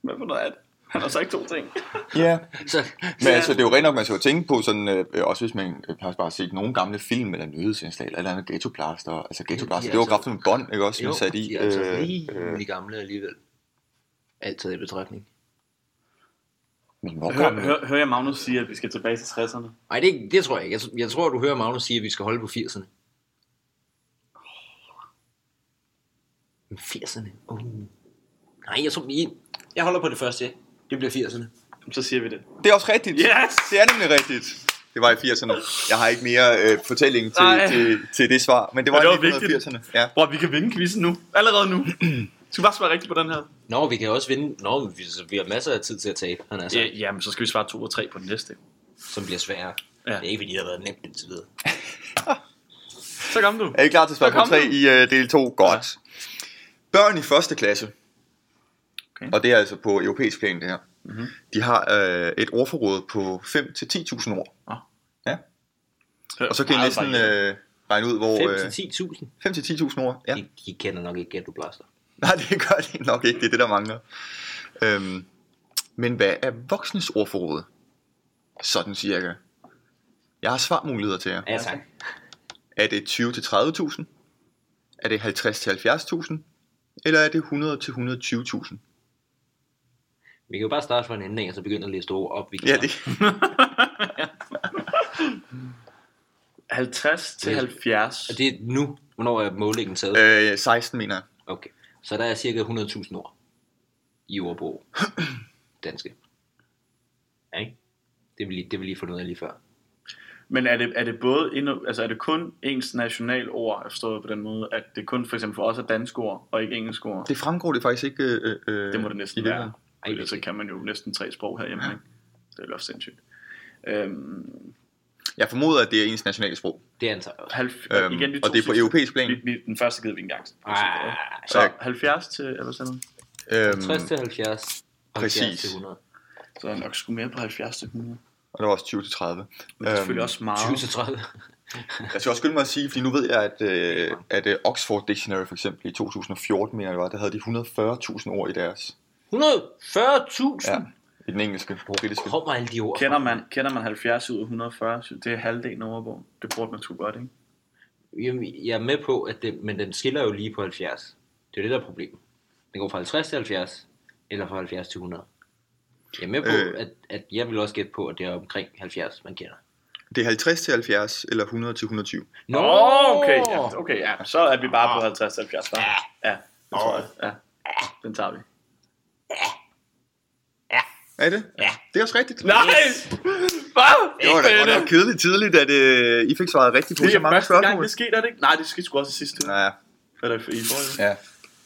Speaker 1: Hvad for noget er det? Han har sagt to ting.
Speaker 2: Ja. Yeah.
Speaker 3: Så,
Speaker 2: Men altså, det er jo rent nok, man skal jo tænke på, sådan, øh, øh, også hvis man øh, har bare set nogle gamle film eller nyhedsindslag, eller et eller andet ghettoplaster. Altså
Speaker 3: de
Speaker 2: ghettoplaster,
Speaker 3: er
Speaker 2: det var
Speaker 3: altså-
Speaker 2: kraften med bånd, ikke også,
Speaker 3: jo,
Speaker 2: man sat i.
Speaker 3: de er altså
Speaker 2: øh, øh,
Speaker 3: rimelig gamle alligevel. Altid i betragtning.
Speaker 2: men hvor
Speaker 1: Hør,
Speaker 2: gammel?
Speaker 1: hør, hører jeg Magnus sige, at vi skal tilbage til 60'erne?
Speaker 3: Nej, det, det tror jeg ikke. Jeg, jeg tror, du hører Magnus sige, at vi skal holde på 80'erne. Men 80'erne? Oh. Nej, jeg tror, vi... Jeg holder på det første, ja. Det bliver 80'erne.
Speaker 1: Så siger vi det.
Speaker 2: Det er også rigtigt.
Speaker 1: Yes!
Speaker 2: Det er nemlig rigtigt. Det var i 80'erne. Jeg har ikke mere øh, fortælling til,
Speaker 1: Nej.
Speaker 2: til, til, det svar, men det var,
Speaker 1: Men
Speaker 2: i
Speaker 1: det var vigtigt.
Speaker 2: 1980'erne. Ja.
Speaker 1: Bror, vi kan vinde quizzen nu. Allerede nu.
Speaker 2: (clears throat)
Speaker 1: Du skal bare svare rigtigt på den her.
Speaker 3: Nå, vi kan også vinde. Nå, men vi, så vi har masser af tid til at tabe, han er
Speaker 1: Ja,
Speaker 3: sagt,
Speaker 1: jamen, så skal vi svare to og tre på den næste.
Speaker 3: som bliver sværere.
Speaker 1: Ja.
Speaker 3: Ja. Det er ikke, fordi det har været nemt indtil videre.
Speaker 1: Så kom du.
Speaker 2: Er I klar til spørgsmål
Speaker 1: kom
Speaker 2: 3
Speaker 1: den.
Speaker 2: i øh, del 2? Godt. Børn i første klasse,
Speaker 1: Okay. Mhm.
Speaker 2: okay. og det er altså på europæisk plan det her, mm-hmm. de har øh, et ordforråd på 5-10.000 ord.
Speaker 1: Nå.
Speaker 2: Ja. Og så kan I
Speaker 1: Meget
Speaker 2: næsten
Speaker 1: varieret.
Speaker 2: øh, regne ud, hvor... øh,
Speaker 3: 5-10.000.
Speaker 2: 5-10.000 ord, ja.
Speaker 3: De, de kender nok ikke Ghetto Blaster.
Speaker 2: Nej, det gør det nok ikke. Det er det, der mangler. Øhm, men hvad er voksnes ordforråd? Sådan cirka. Jeg har svarmuligheder til jer.
Speaker 3: Ja, tak.
Speaker 2: Er det 20-30.000? Er det 50-70.000? Eller er det 100-120.000?
Speaker 3: Vi kan jo bare starte fra en ende af, og så begynde at læse ord op. Vi
Speaker 2: Ja,
Speaker 3: kender.
Speaker 2: det, øh,
Speaker 1: 50 til
Speaker 3: Det er-
Speaker 1: 70.
Speaker 3: Og det er nu, hvornår er målingen taget?
Speaker 2: øh, 16 mener jeg.
Speaker 3: Okay. Så der er cirka 100.000 ord i ordbog. Danske. Ja, ikke? Det vil, lige, det vil lige få noget af lige før.
Speaker 1: Men er det, er det både endnu, altså er det kun ens nationalord, jeg forstået på den måde, at det kun for eksempel for os er dansk ord og ikke engelsk ord? Det,
Speaker 2: Det fremgår det faktisk ikke. Øh, øh,
Speaker 1: det må det næsten
Speaker 2: i
Speaker 1: være.
Speaker 2: virkeligheden.
Speaker 1: Ej, Ellers så kan man jo næsten tre sprog herhjemme, ikke? Det er jo også sindssygt. Øhm,
Speaker 2: Jeg formoder, at det er ens nationalsprog.
Speaker 3: Det antager jeg også.
Speaker 1: halv,
Speaker 2: Øhm,
Speaker 1: igen, de to
Speaker 2: og det er på
Speaker 1: sidste.
Speaker 2: europæisk plan.
Speaker 1: Vi, vi, den første gider vi ikke engang.
Speaker 3: Ah,
Speaker 1: Så
Speaker 2: Ja.
Speaker 1: 70 til, eller sådan noget.
Speaker 2: Øhm,
Speaker 3: 60 til 70. 70
Speaker 2: Præcis.
Speaker 3: til 100.
Speaker 1: Så er der nok sgu mere på 70 til 100.
Speaker 2: og det var også 20-30.
Speaker 1: Men det er selvfølgelig også meget.
Speaker 3: 20-30.
Speaker 2: Altså, Jeg skal også skynde mig at sige, fordi nu ved jeg, at, øh, at øh, Oxford Dictionary for eksempel i 2014, mener jeg det var, der havde de 140.000 ord i deres.
Speaker 3: 140.000!
Speaker 2: Ja,
Speaker 3: Ja.
Speaker 2: i den engelske, britiske.
Speaker 3: Kommer alle de ord. fra?
Speaker 1: Kender man, kender man 70 ud af 140, så det er halvdelen af ordbogen. Det burde man sgu godt, ikke?
Speaker 3: Jamen, jeg er med på, at det, men den skiller jo lige på 70. Det er jo det, der er problemet. Den går fra 50 til 70, eller fra 70 til 100. Jeg er med på,
Speaker 2: Øh.
Speaker 3: øh. at, at jeg vil også gætte på, at det er omkring 70, man kender.
Speaker 2: Det er 50 til 70, eller 100 til 120.
Speaker 3: Nå,
Speaker 1: okay, ja, okay, ja. Så er vi
Speaker 2: Ah.
Speaker 1: bare på 50-70, hva'? Ja, det tror jeg. Ja. Den tager vi.
Speaker 2: Er det? Ja. Det er også rigtigt.
Speaker 1: Nice! Hvad?
Speaker 2: Det var da godt nok kedeligt tidligt, at øh, I fik svaret rigtigt på
Speaker 1: Det
Speaker 2: så
Speaker 1: er
Speaker 2: mange
Speaker 1: første gang,
Speaker 2: spørgsmål.
Speaker 1: det skete, er det ikke? Nej, det skete sgu også i sidste uge.
Speaker 2: Ja.
Speaker 1: Eller i forrige uge.
Speaker 2: ja.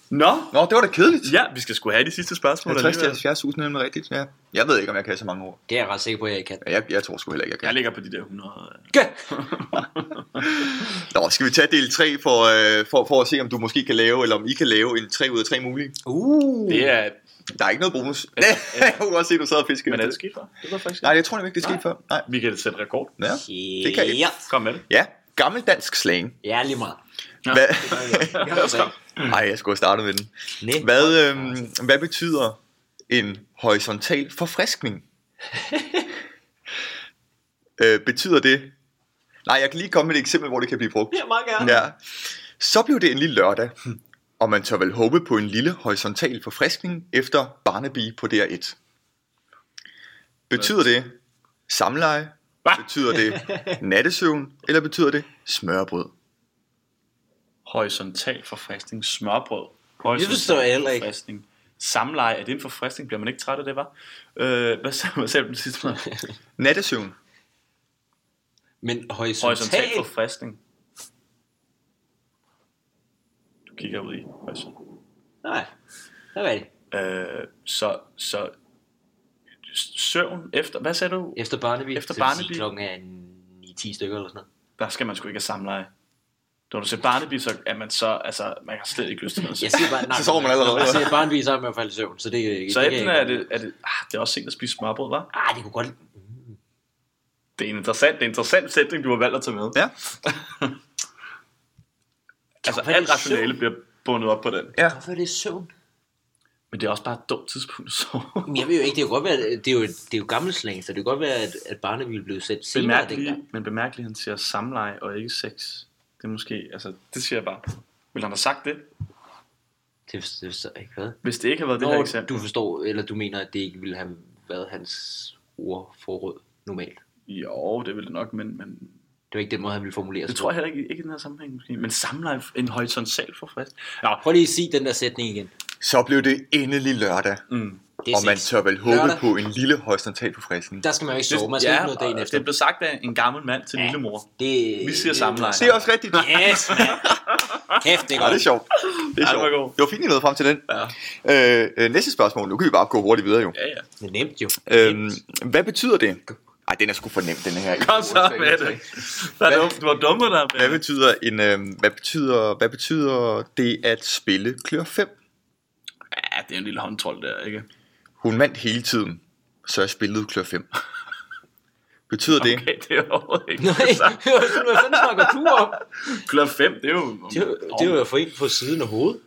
Speaker 1: Nå,
Speaker 2: Nå, det var da kedeligt.
Speaker 1: ja, vi skal sgu have de sidste spørgsmål.
Speaker 2: 50 til
Speaker 1: alligevel.
Speaker 2: 70.000 er nemlig rigtigt, ja. Jeg ved ikke, om jeg kan så mange ord.
Speaker 3: Det er jeg ret sikker på, at jeg ikke kan.
Speaker 2: Ja, Jeg, jeg tror sgu heller ikke, jeg
Speaker 1: Jeg
Speaker 2: kan.
Speaker 1: ligger på de der 100.
Speaker 2: Nå, skal vi tage del 3 for, øh, for, for at se, om du måske kan lave, eller om I kan lave en 3 ud af 3 mulige?
Speaker 3: Uh,
Speaker 1: Det er...
Speaker 2: Der er ikke noget bonus. (laughs) jeg kunne godt se, at du sad og fiskede.
Speaker 1: Men er
Speaker 2: efter
Speaker 1: det sket for? Det var faktisk
Speaker 2: Nej, jeg tror nemlig ikke, det er sket
Speaker 1: Nej.
Speaker 2: før. Nej.
Speaker 1: Vi kan sætte rekord.
Speaker 2: Ja.
Speaker 3: shit.
Speaker 2: det kan I.
Speaker 3: Ja,
Speaker 1: Kom med det.
Speaker 2: ja. Gammel dansk slang.
Speaker 3: ja lige
Speaker 2: (laughs)
Speaker 3: meget. Altså,
Speaker 2: Hvad...
Speaker 3: Jeg
Speaker 2: Ej, jeg skulle have startet med den.
Speaker 3: Nej.
Speaker 2: Hvad, øhm, hvad betyder en horisontal
Speaker 1: (laughs)
Speaker 2: forfriskning? øh, betyder det... Nej, jeg kan lige komme med et eksempel, hvor det kan blive brugt.
Speaker 3: Jeg meget gerne.
Speaker 2: Ja. Så blev det endelig lørdag, og man tør vel håbe på en lille horisontal forfriskning efter Barnaby på DR1. Betyder det samleje?
Speaker 1: Hva?
Speaker 2: Betyder
Speaker 1: (laughs)
Speaker 2: det nattesøvn? Eller betyder det smørbrød?
Speaker 1: Horisontal forfriskning. Smørbrød.
Speaker 3: Det forstår jeg heller ikke.
Speaker 1: Forfriskning. Samleje. Er det en forfriskning? Bliver man ikke træt af det, var? Øh, hvad sagde hvad sagde du den sidste måde?
Speaker 2: Nattesøvn.
Speaker 3: Men
Speaker 1: Horisontal
Speaker 3: horisontalt,
Speaker 1: forfriskning. Du kigger ud i horisontal.
Speaker 3: nej, der var det.
Speaker 1: Øh, så, så søvn efter, hvad sagde du?
Speaker 3: Efter Barnaby,
Speaker 1: Efter
Speaker 3: så vil sige,
Speaker 1: Barnaby.
Speaker 3: klokken er en, i 10 stykker eller sådan noget.
Speaker 1: Der skal man sgu ikke have samleje. Når du ser Barnaby, så er man så, altså, man har slet ikke lyst til noget. (laughs)
Speaker 3: Jeg siger bare, nej,
Speaker 2: (laughs) Så sover man allerede.
Speaker 3: Jeg siger bare en vis med at falde i søvn, så det, det
Speaker 1: Så
Speaker 3: kan
Speaker 1: enten
Speaker 3: jeg
Speaker 1: er
Speaker 3: ikke.
Speaker 1: det, er det, ah, det er også sent at spise smørbrød, var.
Speaker 3: Ah, det kunne godt...
Speaker 1: Det er en interessant, det er en interessant sætning, du har valgt at tage med.
Speaker 2: Ja.
Speaker 1: (laughs) Altså,
Speaker 3: Hvad er
Speaker 1: alt
Speaker 3: det,
Speaker 1: rationale bliver bundet op på den.
Speaker 2: Ja.
Speaker 3: Hvorfor er det søvn?
Speaker 1: Men det er også bare et dumt tidspunkt (laughs) at sove.
Speaker 3: Men jeg ved jo ikke, det kan godt være, det er jo, det er jo gammel slang, så det kan godt være, at, at barnet ville blive sendt senere
Speaker 1: Bemærk
Speaker 3: dengang.
Speaker 1: lige, men bemærk lige, han siger samleje og ikke sex. Det er måske, altså, det siger jeg bare. Vil han have sagt det,
Speaker 3: Det forstår det forstår jeg ikke, hvad?
Speaker 1: hvis det ikke har været det her
Speaker 3: Nå,
Speaker 1: eksempel?
Speaker 3: du forstår, eller du mener, at det ikke ville have været hans ordforråd normalt.
Speaker 1: Jo, det vil det nok, men, men
Speaker 3: Det var ikke den måde, han ville formulere
Speaker 1: Det
Speaker 3: sig
Speaker 1: tror jeg
Speaker 3: på.
Speaker 1: heller ikke, ikke i den her sammenhæng måske. Men samler en horisontal forfrisk. Nå,
Speaker 3: Prøv lige at sige den der sætning igen.
Speaker 2: Så blev det endelig lørdag,
Speaker 1: mm.
Speaker 3: Det er
Speaker 2: og man
Speaker 3: sex.
Speaker 2: tør vel håbe
Speaker 3: Lørdag.
Speaker 2: på en lille horisontal forfriskning.
Speaker 3: Der skal man jo ikke sove, man skal ikke noget dagen
Speaker 1: og
Speaker 3: efter.
Speaker 1: Det blev sagt af en gammel mand til ja. lillemor.
Speaker 3: Det,
Speaker 1: Vi siger samleje.
Speaker 2: Det er også rigtigt.
Speaker 3: Yes, man. Kæft, det er
Speaker 2: Ja, det er
Speaker 3: godt.
Speaker 2: sjovt. Det er
Speaker 1: Ja, det var god.
Speaker 2: sjovt. Det var fint, I nåede frem til den. Øh, øh, næste spørgsmål. Nu kan vi bare gå hurtigt videre, jo.
Speaker 1: Ja, (laughs) ja.
Speaker 3: Det er nemt jo.
Speaker 2: Øhm, hvad betyder det? Ej, den er sgu for nem, den (laughs) her.
Speaker 1: Kom så med det. Hvad er det? Du har dummet dig med
Speaker 2: Hvad
Speaker 1: det.
Speaker 2: betyder, en, øhm, hvad, betyder, hvad betyder det at spille klør 5?
Speaker 1: Ja, det er en lille håndtrold der, ikke?
Speaker 2: Hun vandt hele tiden, så jeg spillede klør 5. (laughs) betyder det?
Speaker 1: Okay, det er overhovedet ikke.
Speaker 3: Nej, hvad fanden snakker du om?
Speaker 1: Klub 5, det er jo...
Speaker 3: Det var, det var jo for en på siden af hovedet.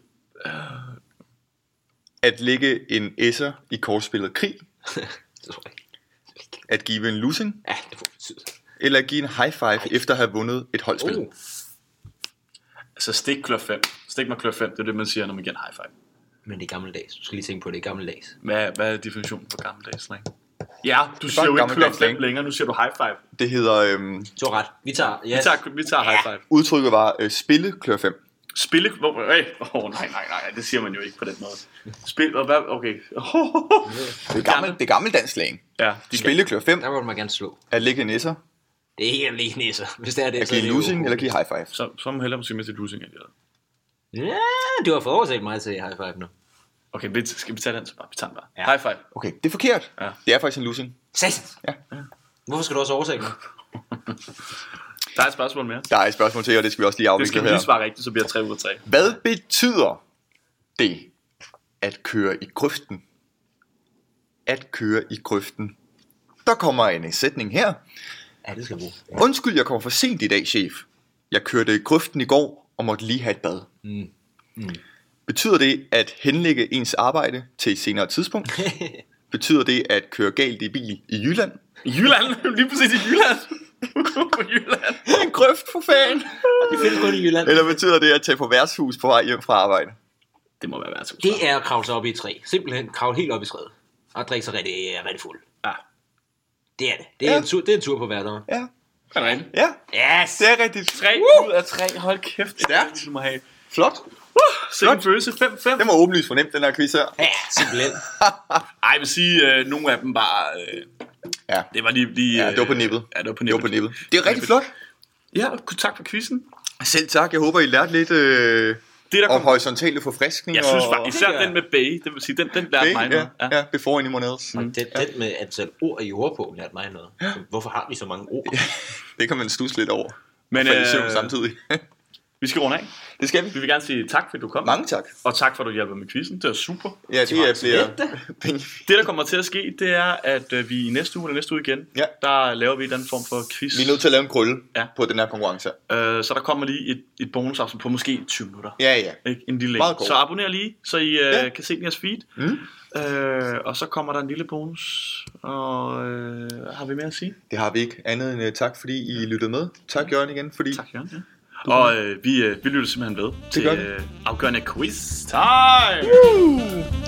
Speaker 2: At ligge en esser i kortspillet krig?
Speaker 3: Det tror jeg ikke.
Speaker 2: At give en losing?
Speaker 3: Ja, det var betyde.
Speaker 2: Eller at give en high five efter at have vundet et holdspil?
Speaker 3: Oh,
Speaker 1: Altså, stik klub 5. Stik mig klub 5, det er det, man siger, når man giver en high five.
Speaker 3: men det er gammeldags. Du skal lige tænke på, at det er gammeldags.
Speaker 1: Hvad, hvad er definitionen på gammeldags slang? Ja, du siger
Speaker 2: en
Speaker 1: jo ikke klub
Speaker 2: gammeldags
Speaker 1: 5
Speaker 2: slang.
Speaker 1: længere, nu siger du high five.
Speaker 2: Det hedder... Øhm,
Speaker 3: Du har ret. Vi tager, yes.
Speaker 1: Vi tager, vi tager high five.
Speaker 2: udtrykket var øh, spille klør 5.
Speaker 1: Spille... Åh, oh, oh, nej, nej, nej, det siger man jo ikke på den måde. Spil... Og hvad... Okay. (laughs)
Speaker 2: Det er gammel, det er gammeldansk slang.
Speaker 1: Ja, de
Speaker 2: Spille klør 5.
Speaker 3: Der må man gerne slå.
Speaker 2: At ligge en esser?
Speaker 3: Det er helt lige næser. Hvis det er det,
Speaker 2: At give en
Speaker 3: det
Speaker 2: losing?
Speaker 3: jo-
Speaker 2: Eller give high five?
Speaker 1: Så, så må hellere måske med til losing end det der.
Speaker 3: Ja, du har fået overtalt mig til high five nu.
Speaker 1: Okay, vi, skal vi tage den så bare? Vi tager den bare.
Speaker 3: Ja.
Speaker 1: High five.
Speaker 2: Okay, det er forkert.
Speaker 1: Ja.
Speaker 2: Det er faktisk en losing.
Speaker 3: Sæt!
Speaker 2: Ja.
Speaker 3: Hvorfor skal du også overtale mig?
Speaker 1: Der er et spørgsmål mere.
Speaker 2: Der er et spørgsmål til, og det skal vi også lige
Speaker 1: Det
Speaker 2: afvikle
Speaker 1: skal vi
Speaker 2: her.
Speaker 1: lige svare rigtigt, så bliver det 3 ud af 3.
Speaker 2: Hvad betyder det at køre i grøften? At køre i grøften. Der kommer en sætning her.
Speaker 3: Ja, det skal vi. Ja.
Speaker 2: Undskyld, jeg kommer for sent i dag, chef. Jeg kørte i grøften i går og måtte lige have et bad.
Speaker 3: Mm.
Speaker 2: Betyder det at henlægge ens arbejde til et senere tidspunkt? Betyder det at køre galt i bil i Jylland?
Speaker 1: I Jylland, (laughs) lige præcis i Jylland. (laughs) på Jylland.
Speaker 2: En grøft for fanden!
Speaker 3: Det findes kun i Jylland.
Speaker 2: Eller betyder det at tage på værtshus på vej hjem fra arbejde?
Speaker 1: Det må være værtshus.
Speaker 3: Det er at kravle sig op i et træ. Simpelthen kravle helt op i træet. Og drikke sig rigtig, rigtig fuld.
Speaker 1: Ja.
Speaker 3: Det er det. Det er,
Speaker 2: Ja.
Speaker 3: en, tur, det er en tur på hverdagen.
Speaker 2: Ja,
Speaker 1: Er det rigtigt?
Speaker 2: ja,
Speaker 3: Yes!
Speaker 2: det er rigtigt.
Speaker 1: Tre ud af tre. Hold kæft.
Speaker 2: Stærkt.
Speaker 1: Du må have.
Speaker 2: Flot.
Speaker 1: Sikke følelse. 5-5.
Speaker 2: Det var åbenlyst fornemt, den her quiz her.
Speaker 3: Ja, simpelthen.
Speaker 1: Ej, jeg vil sige, øh, nogle af dem bare... Øh,
Speaker 2: Ja.
Speaker 1: det var lige... lige
Speaker 2: Ja, det var på nippet.
Speaker 1: Øh, ja, det var på
Speaker 2: Det
Speaker 1: nippet.
Speaker 2: var på nippet. Det er rigtig flot.
Speaker 1: Ja, og tak for quizzen.
Speaker 2: Selv tak. Jeg håber, I lærte lidt øh,
Speaker 1: Det, der
Speaker 2: om
Speaker 1: kom,
Speaker 2: horisontale forfriskninger.
Speaker 1: jeg synes
Speaker 2: og-
Speaker 1: faktisk, især
Speaker 3: Det gør
Speaker 1: den med Bay, det vil sige, den, den lærte
Speaker 2: Okay,
Speaker 1: okay, mig
Speaker 2: ja,
Speaker 1: noget. Ja.
Speaker 2: ja, before anyone else.
Speaker 3: Og den, den med antal ord i ordbogen lærte mig noget. Hvorfor har vi så mange ord?
Speaker 2: Det kan man stusse lidt over.
Speaker 1: Men
Speaker 2: Men, øh...
Speaker 1: øh,
Speaker 2: samtidig. (laughs)
Speaker 1: vi skal runde af.
Speaker 2: det skal vi.
Speaker 1: Vi vil gerne sige tak, fordi du kom.
Speaker 2: Mange tak.
Speaker 1: Og tak for, at du hjælper med quizzen. Det var øh. super.
Speaker 2: Ja, det, det er
Speaker 3: lidt,
Speaker 2: flere penge.
Speaker 1: Det, der kommer til at ske, det er, at øh, vi i næste uge eller næste uge igen,
Speaker 2: Ja.
Speaker 1: der laver vi en anden form for quiz.
Speaker 2: Vi er nødt til at lave en krølle
Speaker 1: Ja.
Speaker 2: ja. på den her konkurrence. her.
Speaker 1: Øh, så der kommer lige et, et bonusafsnit på måske 20 minutter.
Speaker 2: Ja, ja.
Speaker 1: Ikke? En lille
Speaker 2: Meget
Speaker 1: en.
Speaker 2: god.
Speaker 1: Så abonner lige, så I øh,
Speaker 2: Ja.
Speaker 1: kan se den i jeres feed.
Speaker 2: Mm.
Speaker 1: Øh, og så kommer der en lille bonus. Og øh, har vi mere at sige?
Speaker 2: Det har vi ikke andet end øh, tak, fordi I lyttede med. Tak, Jørgen, igen, fordi...
Speaker 1: Mm. Tak, Jørgen. Ja. Og øh, vi, øh, vi lytter simpelthen ved til
Speaker 2: gør vi.
Speaker 1: øh, afgørende quiz time!
Speaker 2: Woo!